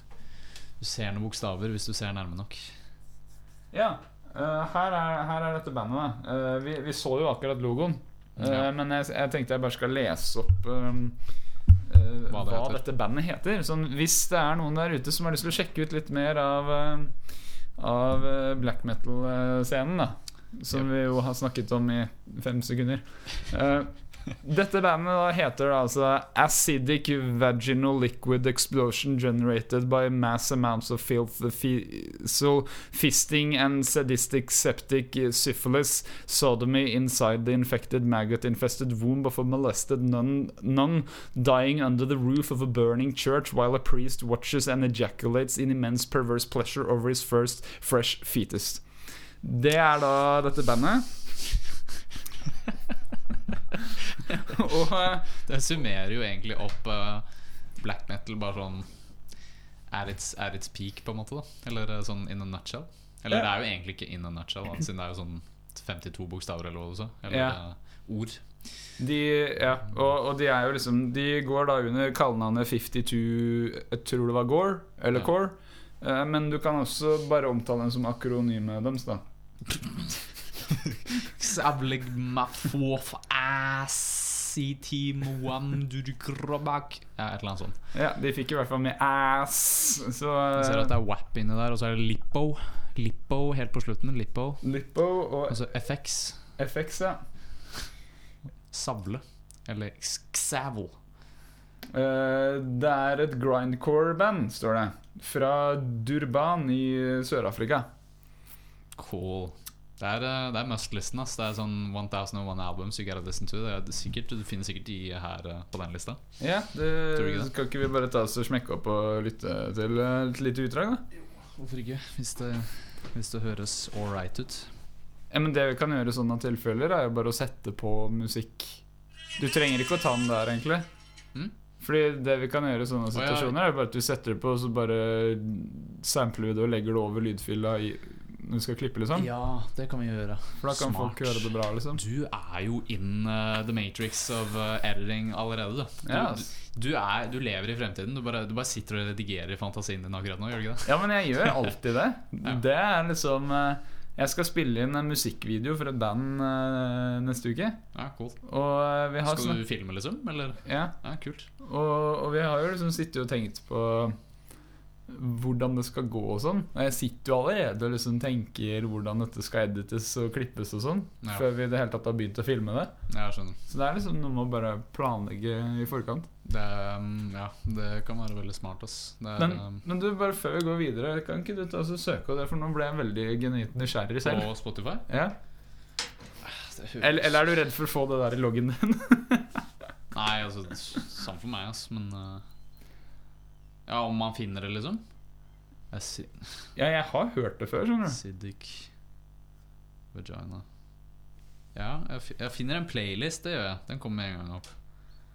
Du ser noen bokstaver hvis du ser nærme nok. Ja, eh, her, er, her er dette bandet. da. Eh, vi, vi så jo akkurat logoen. Eh, Ja. Men jeg, jeg tenkte jeg bare skal lese opp eh, eh, Hva hva, det heter. dette bandet heter. Sånn, hvis det er noen der ute som har lyst til å sjekke ut litt mer av, eh, av eh, black metal-scenen, da. Som vi jo har snakket om i fem sekunder. Eh, dette bandet da heter da altså Acidic Vaginal Liquid Explosion Generated by Mass Amounts of Filth Fecal Fisting and sadistic septic syphilis, sodomy inside the infected maggot infested womb of a molested nun, nun dying under the roof of a burning church while a priest watches and ejaculates in immense perverse pleasure over his first fresh fetus. Det er da dette bandet. [LAUGHS] Og eh, Det summerer jo egentlig opp eh, black metal bare sånn er its, er its peak, på en måte. da Eller eh, sånn in a nutshell. Eller det er jo egentlig ikke in a nutshell, da, siden det er jo sånn 52 bokstaver eller hva du sa. Eller Ja. eh, ord. de, ja, og, og de er jo liksom De går da under kallenavnet 52 Jeg tror det var Gore, eller Ja. Core. Eh, Men du kan også bare omtale dem som akronymet deres, da. Savlig mafof assitimwandurkrobak Ja, et eller annet sånt. Ja, De fikk i hvert fall med ass, så eh, Jeg ser at det er WAP inni der, og så er det Lippo. Lippo helt på slutten. Lippo. Lippo og Og så FX. FX, ja. Savle. Eller Xavel. Eh, Det er et grindcore-band, står det. Fra Durban i Sør-Afrika. Cool. Det er, eh, det er must-listen. ass. Det er sånn 1001 albums you gotta listen to. Det, er sikkert, du finner sikkert de her eh, på den lista. Ja, Tror du ikke det det? Skal ikke vi bare ta oss og smekke opp og lytte til eh, et lite utdrag, da? Hvorfor ikke? Hvis det, hvis det høres ålreit ut. Ja, men Det vi kan gjøre i sånne tilfeller, er jo bare å sette på musikk. Du trenger ikke å ta den der, egentlig. Mm? Fordi det vi kan gjøre i sånne Å, ja. situasjoner, er jo bare at du setter det på, og så bare sampler vi det og legger det over lydfilla i, når du skal klippe, liksom. Ja, det kan vi gjøre. For da kan smart. folk høre det bra, liksom. Du er jo in eh, the matrix of eh, editing allerede, du. Du, Ja, ass. du, er, du lever i fremtiden. Du bare, du bare sitter og redigerer i fantasien din akkurat nå, gjør du ikke det? Ja, men jeg gjør alltid det. Ja. Det er liksom eh, Jeg skal spille inn en musikkvideo for et band eh, neste uke. Ja, cool. Og eh, vi har Skal snak- du filme, liksom? Eller? ja, Ja, kult. og, og vi har jo liksom sittet og tenkt på hvordan det skal gå og sånn. Og jeg sitter jo allerede og liksom tenker hvordan dette skal edites og klippes og sånn. Ja. Før vi i det hele tatt har begynt å filme det. Ja, jeg skjønner. Så det er liksom noe med å bare planlegge i forkant. Det, er, mm, ja, det kan være veldig smart, ass. Det er, eh, Men, men du, bare før vi går videre, kan ikke du ta oss og søke på det? For nå ble jeg veldig genuint nysgjerrig eh, selv. på Spotify? Ja. Eller, eller er du redd for å få det der i loggen din? [LAUGHS] Nei, altså, samme for meg, ass, men eh, Ja, om man finner det, liksom. Jeg si- ja, jeg har hørt det før, skjønner du. Siddiq Vagina. Ja, jeg, fi- jeg finner en playlist, det gjør jeg. Den kommer med en gang opp.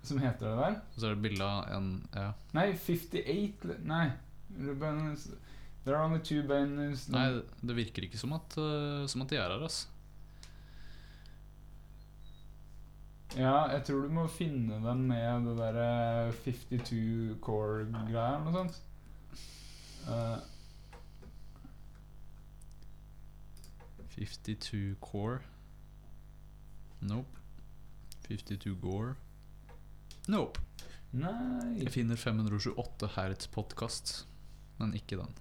Som heter det der. Og så er det bilde av en ja. Nei, 58 le- Nei. Ruben is- There are only two banners Nei, Hm. det virker ikke som at, eh, som at de er her, ass. Ja, jeg tror du må finne dem med det eh, derre 52 core-greia eller noe sånt. Eh, 52 core. Nope. 52 gore. Nope. Nei Jeg finner 528 Hertz-podkast, men ikke den.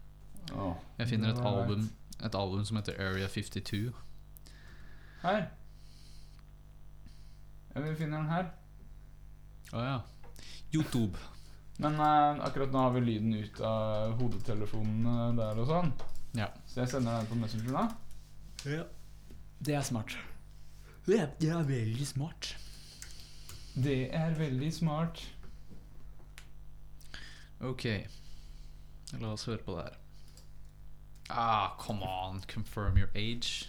Åh. Jeg finner et Alright. album, et album som heter Area 52. Her. Ja, vi finner den her. Å ja. YouTube. Men eh, akkurat nå har vi lyden ut av hodetelefonene der og sånn. Ja. Så jeg sender den på Messenger nå. Det er smart. Det er, det er veldig smart. Det er veldig smart. Ok. La oss høre på det her. Ah, come on. Confirm your [LAUGHS] age.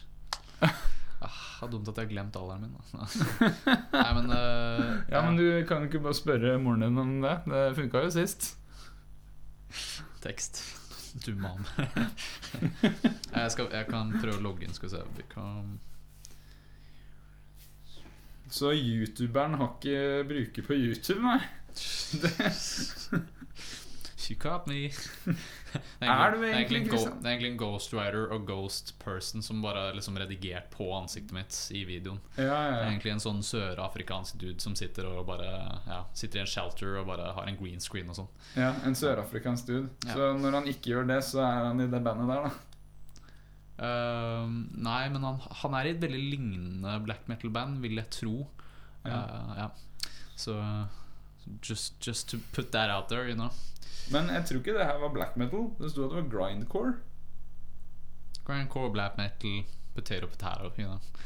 Ah, dumt at jeg har glemt alderen min. Da. [LAUGHS] Nei, men eh, Ja, men du kan jo ikke bare spørre moren din om det. Det funka jo [LAUGHS] sist. Tekst. Du mann. [LAUGHS] jeg, skal- jeg kan prøve å logge inn, skal vi se. Become Så youtuberen har ikke bruker på YouTube, nei. She caught me. Det Er du det egentlig en go- Christian? Det er egentlig en ghostwriter og ghost person som bare er liksom redigert på ansiktet mitt i videoen. Ja, Det er ja. egentlig en sånn sørafrikansk dude som sitter og bare ja, Sitter i en shelter og bare har en green screen og sånn. ja En sørafrikansk dude. Ja. Så når han ikke gjør det, så er han i det bandet der, da. Ehm, nei, men han, han er i et veldig lignende black metal-band, vil jeg tro. Ja. Eh, ja. Så just, just to put that out there, you know. Men jeg tror ikke det her var black metal. Det sto at det var grindcore. Grindcore, black metal, potato, potato. You know.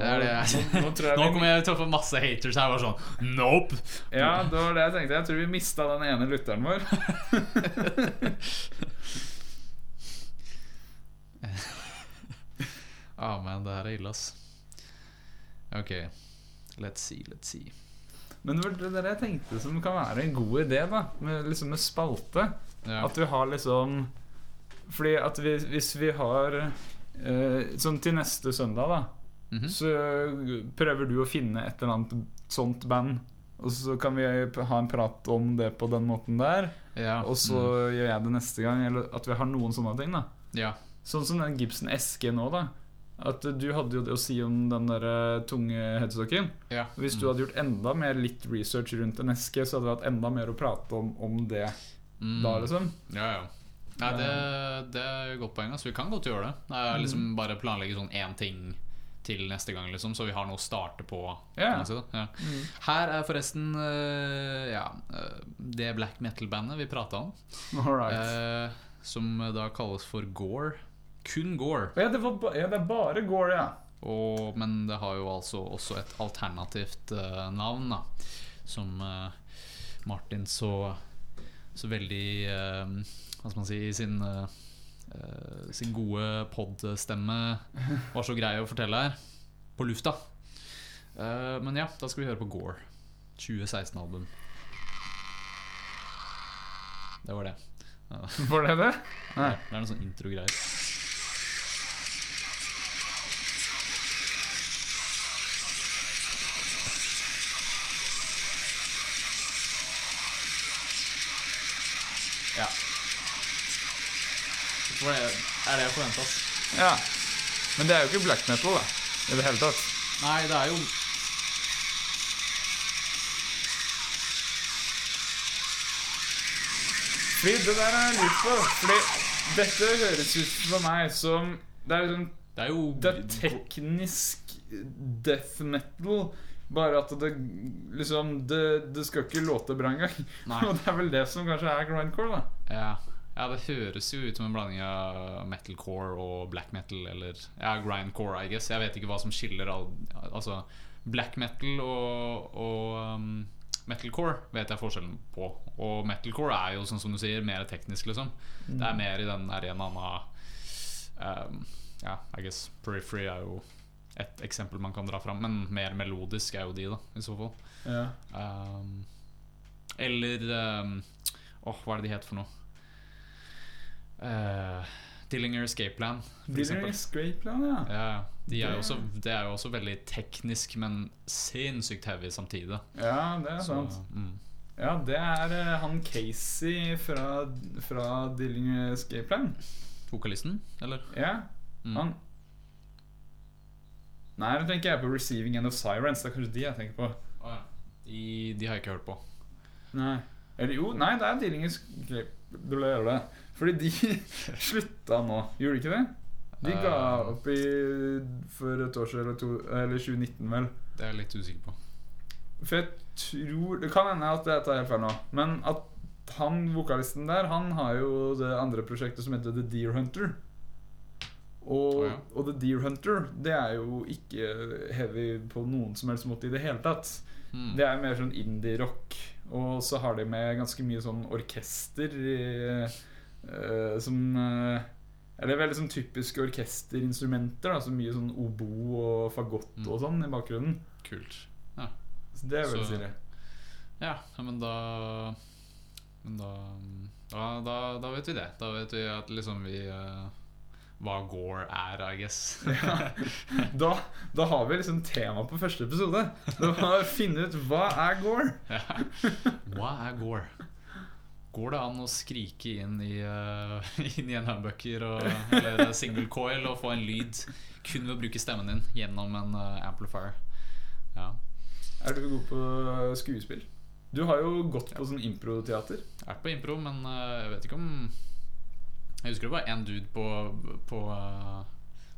Det er det jeg Nå, nå, tror [LAUGHS] jeg Nå vi- kommer jeg til å få masse haters her, bare sånn Nope! Ja, det var det jeg tenkte. Jeg tror vi mista den ene lytteren vår. Ah, men det her er ille, ass. Ok, let's see, let's see. Men det var det der jeg tenkte som kan være en god idé, da. Med, liksom med spalte. Ja. At vi har liksom Fordi at vi, hvis vi har eh, Sånn til neste søndag, da. Mhm. Så prøver du å finne et eller annet sånt band. Og så kan vi ha en prat om det på den måten der. ja. Og så mm, gjør jeg det neste gang. Eller at vi har noen sånne ting, da. Ja. Sånn som den Gibson SG nå, da. At eh, du hadde jo det å si om den der eh, tunge headstocken. ja. Hvis du hadde gjort enda mer litt research rundt en eske, så hadde vi hatt enda mer å prate om om det Mm. da, liksom. Ja, ja. Nei, det, det er et godt poeng. Altså. Vi kan godt gjøre det. det er liksom Bare planlegge sånn én ting til neste gang, liksom, så vi har noe å starte på. Ja. kan man si det. Ja. Her er forresten eh, ja, eh, det black metal-bandet vi prata om, All right. eh, som da kalles for Gore. Kun Gore. ja, det var ba ja, det er bare Gore, ja. Og, men det har jo altså også et alternativt eh, navn, da. Som eh, Martin så, så veldig eh, Hva skal man si i sin, eh, eh, sin gode podstemme var så grei å fortelle her. På lufta. Eh, men ja, da skal vi høre på Gore. 2016-album. Det var det. Var det det? Det Nei. er det er noe sånn intro-greier. Ja. Det var det- er det jeg forventa. Ja. Men det er jo ikke black metal, da. I det hele tatt. Nei, det er jo Fordi det der er jeg lurt på. Fordi dette høres ut for meg som Det er sånn Det er jo Det er teknisk death metal. Bare at det liksom Det, det skal ikke låte bra engang. Nei. [LAUGHS] Og det er vel det som kanskje er grindcore, da. Ja. ja, det høres jo ut som en blanding av metalcore og black metal, eller ja, grindcore, I guess. Jeg vet ikke hva som skiller all Altså, black metal og, og um, metalcore vet jeg forskjellen på. Og metalcore er jo, sånn som du sier, mer teknisk, liksom. Det er mer i den arenaen av um, Ja, I guess Periphery er jo et eksempel man kan dra fram, men mer melodisk er jo de, da, i så fall. Ja. Um, eller um, Åh, hva er det de heter for noe? Eh, Dillinger Escape Plan, for Blir det eksempel. Scrapeland, ja? Ja, de er jo også, det er jo også veldig teknisk, men sinnssykt heavy samtidig. Ja, det er Så, sant. mm. Ja, det er eh, han Casey fra, fra Dillinger Escape Plan. Vokalisten, eller? Ja. Mm. Han Nei, nå tenker jeg på 'Receiving End of Sirens'. Det er kanskje de jeg tenker på. Å, ja. de, de har jeg ikke hørt på. Nei. Eller jo, nei, det er Dillingens det. Fordi de [LAUGHS] slutta nå, gjorde de ikke det? De ga Eh. opp i for et år siden, eller, to, eller 2019, vel. Det er jeg litt usikker på. For jeg tror Det kan hende at jeg tar helt feil nå, men at han vokalisten der, han har jo det andre prosjektet som heter The Deer Hunter. Og, Å, ja. og The Deer Hunter, det er jo ikke heavy på noen som helst måte i det hele tatt. Hmm. Det er mer sånn indie-rock. Og så har de med ganske mye sånn orkester i, eh, som eh, Eller veldig sånn typiske orkesterinstrumenter. Da, så mye sånn obo og fagott og sånn i bakgrunnen. Kult. Så det er veldig Hmm. Så- stilig. Ja, ja, men da Men da da, da da vet vi det. Da vet vi at liksom vi eh, Hva Gore er, I guess. Ja. [LAUGHS] Da, da har vi liksom tema på første episode. Det var å finne ut hva er Gore. Ja. [LAUGHS] Hva er Gore? Går det an å skrike inn i, uh, [LAUGHS] inn i en humbucker og, eller single coil og få en lyd kun ved å bruke stemmen din gjennom en eh, amplifier? Ja. Er du god på skuespill? Du har jo gått på sånn improteater. Jeg har vært på impro, men eh, jeg vet ikke om Jeg husker det var en dude på, på, eh,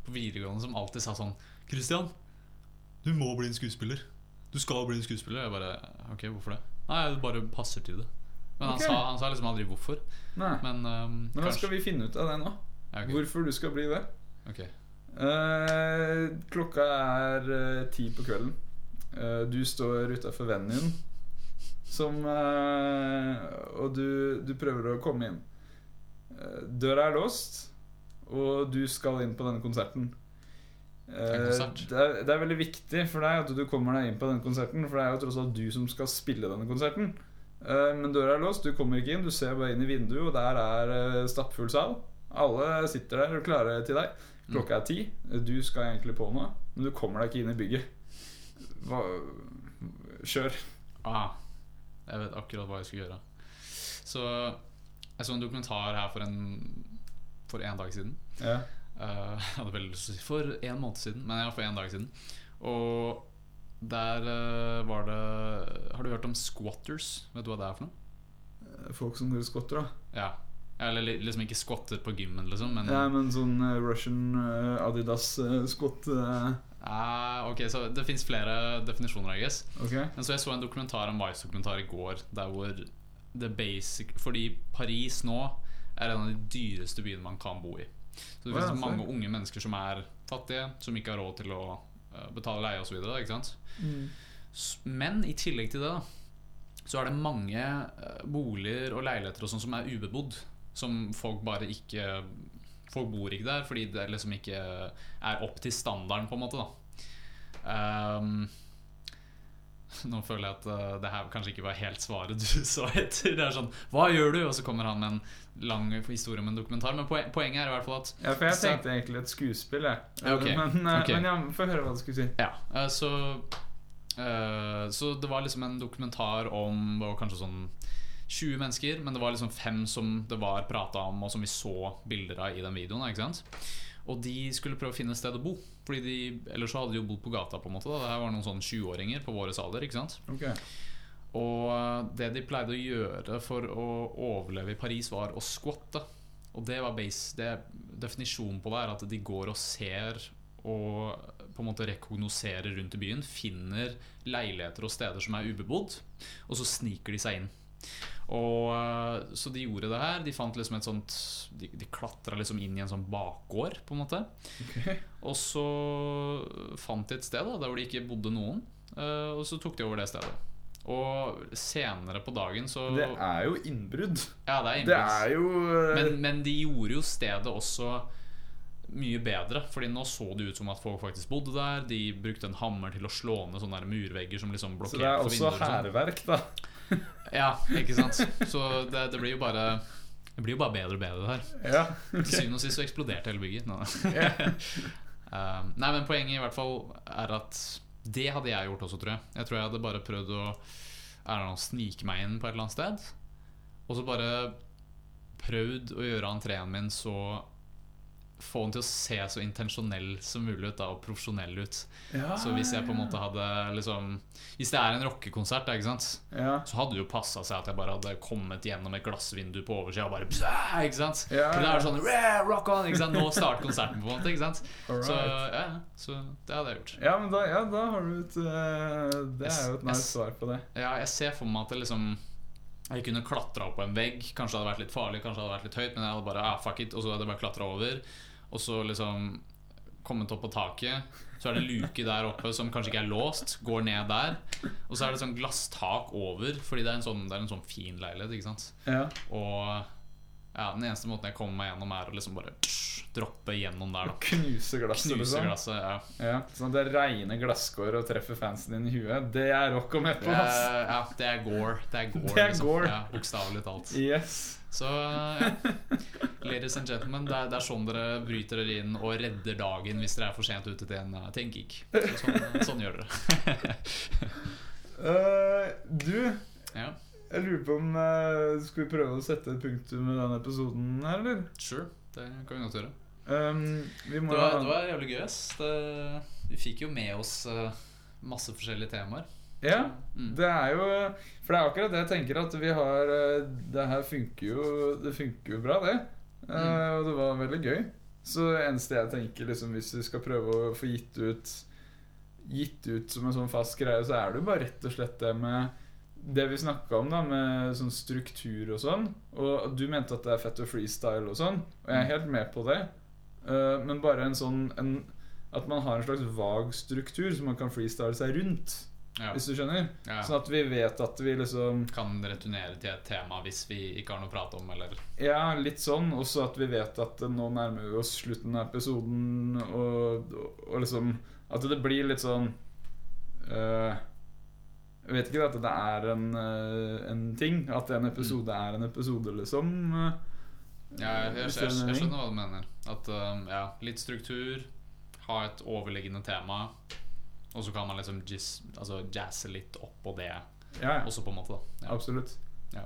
på videregående som alltid sa sånn Christian, du må bli en skuespiller. Du skal bli en skuespiller. Jeg bare Ok, hvorfor det? Nei, det bare passer til det. Men han, Ok. sa, han sa liksom aldri hvorfor. Nei. Men, um, Men da skal vi finne ut av det nå. Ja, ok. Hvorfor du skal bli det. Ok. Eh, klokka er eh, ti på kvelden. Eh, du står utafor vennen din, som eh, Og du, du prøver å komme inn. Eh, døra er låst, og du skal inn på denne konserten. Eh, En konsert? det, er, det er veldig viktig for deg at du kommer deg inn på denne konserten, for det er jo tross alt du som skal spille denne konserten. Eh, Men døra er låst, du kommer ikke inn. Du ser bare inn i vinduet, og der er eh, stappfull sal. Alle sitter der og klare til deg. Klokka er ti. Du skal egentlig på noe, men du kommer deg ikke inn i bygget. Hva Kjør. Ah, jeg vet akkurat hva jeg skulle gjøre. Så jeg så en dokumentar her for en, for en dag siden. Ja. Eh, jeg hadde veldig lyst til å si for en måned siden, men ja, for en dag siden. Og der eh, var det Har du hørt om squatters? Vet du hva det er for noe? Folk som driver skotter, da. Ja. Eller li- liksom ikke squatter på gymmen, liksom, men Ja, men sånn eh, Russian eh, Adidas-skott Ah, Ok, så det fins flere definisjoner, I guess. Ok? Men så jeg så en dokumentar, en Vice-dokumentar i går, der hvor the basic Fordi Paris nå er en av de dyreste byene man kan bo i. Så det Å, ja, finnes så. mange unge mennesker som er fattige, som ikke har råd til å eh, betale leie osv. S- Men i tillegg til det da, så er det mange eh, boliger og leiligheter og sånn som er ubebodd. Som folk bare ikke Folk bor ikke der fordi det liksom ikke er opp til standarden, på en måte. da Ehm, [LAUGHS] Nå føler jeg at eh, det her kanskje ikke var helt svaret du [LAUGHS] sa etter. Det er sånn Hva gjør du? Og så kommer han med en lang historie om en dokumentar. Men poen- poenget er i hvert fall at Ja, for jeg Så- tenkte egentlig et skuespill, jeg. Ja, ok. Men, eh, Ok. men ja, få høre hva du skulle si. Ja, eh, så eh, Så det var liksom en dokumentar om det var kanskje sånn 20 mennesker, men det var liksom fem som det var prata om, og som vi så bilder av i den videoen. da, Ikke sant? Og de skulle prøve å finne et sted å bo, Fordi de, ellers så hadde de jo bodd på gata. på en måte da. Det her var noen sånn 20-åringer på våres alder. ikke sant? Ok. Og eh, det de pleide å gjøre for å overleve i Paris, var å squatte. Og det var base, det definisjonen på det er at de går og ser og på en måte rekognoserer rundt i byen. Finner leiligheter og steder som er ubebodd, og så sniker de seg inn. Og eh, Så de gjorde det her. De fant liksom et sånt De, de klatra liksom inn i en sånn bakgård, på en måte. Ok. Og så fant de et sted da, der hvor det ikke bodde noen, eh, og så tok de over det stedet. Og senere på dagen så Det er jo innbrudd. Ja, det er Det innbrudd. er jo eh, Men, men de gjorde jo stedet også mye bedre, Fordi nå så det ut som at folk faktisk bodde der. De brukte en hammer til å slå ned sånne der murvegger som liksom Så det blokkerte er for også vinduer. og sånn. hærverk, da. Ja, ikke sant. Så det, det blir jo bare Det blir jo bare bedre og bedre det her. Ja. [LAUGHS] Til syvende og sist så eksploderte hele bygget. Nei, nei. Um, nei, men poenget i hvert fall er at det hadde jeg gjort også, tror jeg. Jeg tror jeg hadde bare prøvd å er det noe, snike meg inn på et eller annet sted. Og så bare prøvd å gjøre entreen min så få den til å se så intensjonell som mulig ut da, og profesjonell ut. Ja, Så hvis jeg på en måte hadde liksom Hvis det er en rockekonsert, da, ikke sant, ja. så hadde det jo passa seg at jeg bare hadde kommet gjennom et glassvindu på oversida og bare bzæ, ikke sant? Ja, For det ja. er sånn «Rah, Rock on! Ikke sant? Nå starter konserten, på en måte. Ikke sant? Alright. Så, ja, ja, så det hadde jeg gjort. Ja, men da, ja, da har du et eh, Det er jo et nice S- svar på det. Ja, jeg ser for meg at det liksom jeg kunne klatra opp på en vegg. Kanskje det hadde vært litt farlig, kanskje det hadde vært litt høyt, men jeg hadde bare ah, fuck it, og så hadde jeg bare klatra over. Og så liksom kommet opp på taket. Så er det luke der oppe som kanskje ikke er låst. Går ned der. Og så er det sånn glasstak over, fordi det er en sånn, det er en sånn fin leilighet. ikke sant? Ja. Og ja, den eneste måten jeg kommer meg gjennom, er å liksom bare psh, droppe gjennom der. da Knuse glasset, Knuse liksom. glasset. ja Ja, sånn at det regner glasskår og treffer fansen din i huet. Det er rock og metal, ass! Eh, ja, det er gore. Det er gore, [LAUGHS] liksom. Det er gore. Ja, Bokstavelig talt. Yes. Så ja. Ladies and gentlemen, det er, det er sånn dere bryter dere inn og redder dagen hvis dere er for sent ute til en, eh, til en gig. Så sånn, sånn gjør dere. [LAUGHS] Eh, du, ja, jeg lurer på om eh, Skal vi prøve å sette et punktum med denne episoden her, eller? sure. Det kan vi godt gjøre. Um, vi må Det var, det var jævlig gøy. ass. Det- Vi fikk jo med oss eh, masse forskjellige temaer. Ja. Mm. Det er jo For det er akkurat det jeg tenker at vi har eh, Det her funker jo Det funker jo bra, det. Eh, Mm. Og det var veldig gøy. Så det eneste jeg tenker liksom hvis vi skal prøve å få gitt ut Gitt ut som en sånn fast greie, så er det jo bare rett og slett det med det vi snakka om, da med sånn struktur og sånn. Og du mente at det er fett å freestyle og sånn, Mm. og jeg er helt med på det. Eh, men bare en sånn en, At man har en slags vag struktur som man kan freestyle seg rundt, Ja. hvis du skjønner. Ja. Sånn at vi vet at vi liksom Kan returnere til et tema hvis vi ikke har noe å prate om, eller Ja, litt sånn. Og så at vi vet at eh, nå nærmer vi oss slutten av episoden, og, og, og liksom At det blir litt sånn eh, Jeg vet ikke at det er en, eh, en ting. At en episode Mm. er en episode, liksom. eh, Ja, jeg, jeg, hvis det jeg, er en jeg mening. skjønner hva du mener. At um, ja, Litt struktur, ha et overliggende tema, og så kan man liksom jizz, altså jazze litt oppå det Ja, ja. også, på en måte. da ja. Absolutt. Ja.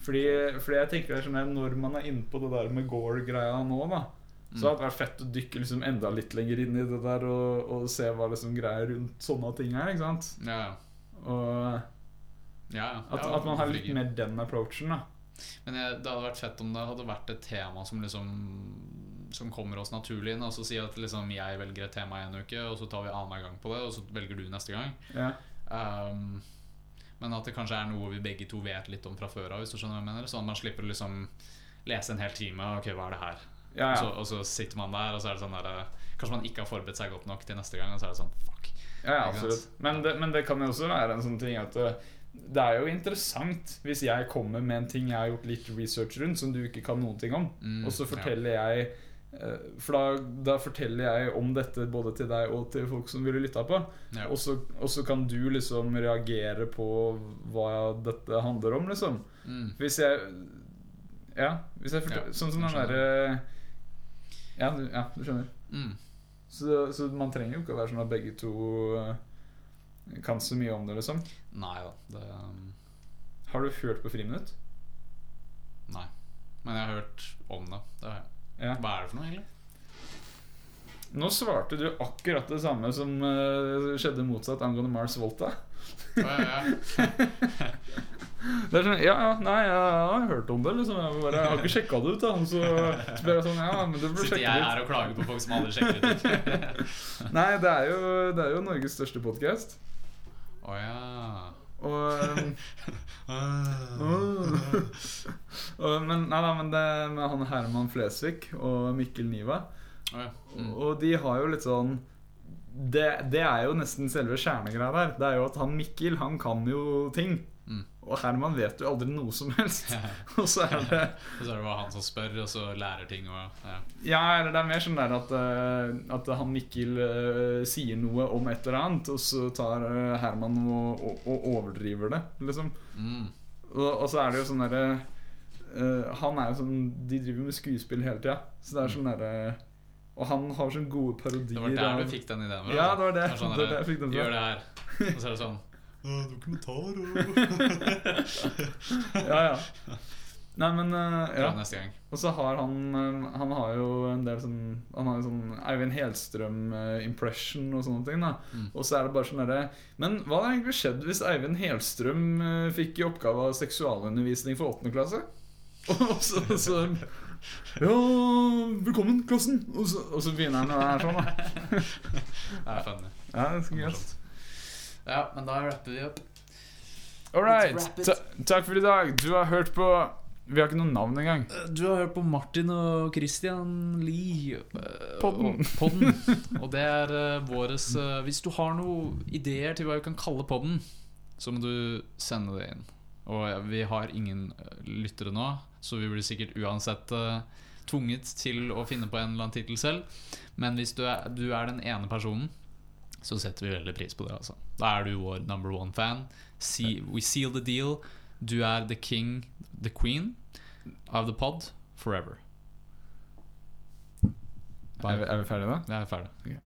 Fordi, fordi jeg tenker det er sånn her, Når man er inne på det der med Gore-greia nå, da Mm. så hadde det vært fett å dykke liksom enda litt lenger inn i det der og, og se hva liksom greia rundt sånne ting er. ikke sant? Ja, ja. Og ja, ja. at, ja, at man har hvorfor litt ikke? mer den approachen, da. Men jeg, det hadde vært fett om det hadde vært et tema som liksom Som kommer oss naturlig inn. Altså si at liksom jeg velger et tema en uke, og så tar vi annenhver gang på det, og så velger du neste gang. Ja. Um, men at det kanskje er noe vi begge to vet litt om fra før av, hvis du skjønner hva jeg mener. Sånn at man slipper å liksom lese en hel time. Ok, hva er det her? Ja, Så, ja. og så sitter man der, og så er det sånn der eh, Kanskje man ikke har forberedt seg godt nok til neste gang, og så er det sånn fuck. ja, ja Ikke absolutt. sant? Men det, men det kan jo også være en sånn ting at uh, det er jo interessant hvis jeg kommer med en ting jeg har gjort litt research rundt, som du ikke kan noen ting om, Mm, og så forteller jeg eh, For da, da forteller jeg om dette både til deg og til folk som ville lytta på. ja. Ja. Og så, og så kan du liksom reagere på hva dette handler om, liksom. Mm. Hvis jeg Ja, hvis jeg fortel, Ja, Sånn som jeg den derre ja, du- ja, du skjønner. Mm. Så, så man trenger jo ikke å være sånn at begge to eh, kan så mye om det, liksom. Nei da. Det um, Har du hørt på Friminutt? Nei. Men jeg har hørt om det. det har jeg. Ja. Hva er det for noe, egentlig? Nå svarte du akkurat det samme som eh, skjedde motsatt angående Mars Volta. Å, ja, [LAUGHS] ja. Det er sånn, ja, ja, nei, jeg har hørt om det, liksom. Jeg, bare, jeg har ikke sjekka det ut, da. Og så spør jeg sånn, ja, men du burde Sitter sjekke jeg det ut. her og klager på folk som aldri sjekker ut [LAUGHS] ting? Nei, det er jo, det er jo Norges største podkast. Å ja. Og eh, [LAUGHS] Ah. Åh. Og- men, nei, da, men det er med han Herman Flesvig og Mikkel Niva. Å, ja. Mm. Og de har jo litt sånn det, det er jo nesten selve kjernegreia der. Det er jo at han Mikkel, han kan jo ting. Mm. Og Herman vet jo aldri noe som [LAUGHS] helst. [LAUGHS] og så er det Og så er det bare han som spør, og så lærer ting og ja. Ja, eller det er mer sånn der at, eh, at han Mikkel eh, sier noe om et eller annet, og så tar eh, Herman og, og, og overdriver det, liksom. mm. Og, og så er det jo sånn derre eh, Han er jo sånn De driver med skuespill hele tida. Så det er sånn derre Og han har sånne gode Det parodier. var der av- du fikk den ideen vår. Ja, det var det. er sånn Det var der, der jeg fikk den fra. Gjør det her. Og så er det [LAUGHS] sånn «Åh, Dokumentar og Ja, ja. Nei, men eh, ja. ja. neste gang. Og så har han eh, Han har jo en del sånn Han har jo sånn Eivind Helstrøm-impression og sånne ting. da Mm. Og så er det bare sånn derre Men hva hadde egentlig skjedd hvis Eivind Helstrøm eh, fikk i oppgave av seksualundervisning for 8. klasse? [LAUGHS] Og så, så Ja, velkommen, klassen! Og så, og så begynner han å være sånn, da. Det er funny. [LAUGHS] Ja, det skal gøy. Morsomt. Ja, men da rapper vi opp. Let's All right. wrap it. Ta takk for i dag. Du har hørt på Vi har ikke noe navn engang. Eh, Du har hørt på Martin og Christian Lie. eh, Podden. Og, podden. og det er eh, våres eh, Hvis du har noen ideer til hva vi kan kalle podden, så må du sende det inn. Og ja, vi har ingen eh, lyttere nå, så vi blir sikkert uansett eh, tvunget til å finne på en eller annen tittel selv. Men hvis du er, du er den ene personen, så setter vi veldig pris på det. Altså. Da er du vår number one fan. See, we seal the deal. Du er the king, the queen of the pod forever. Er vi, Bye. er vi ferdige da? Jeg er ferdig.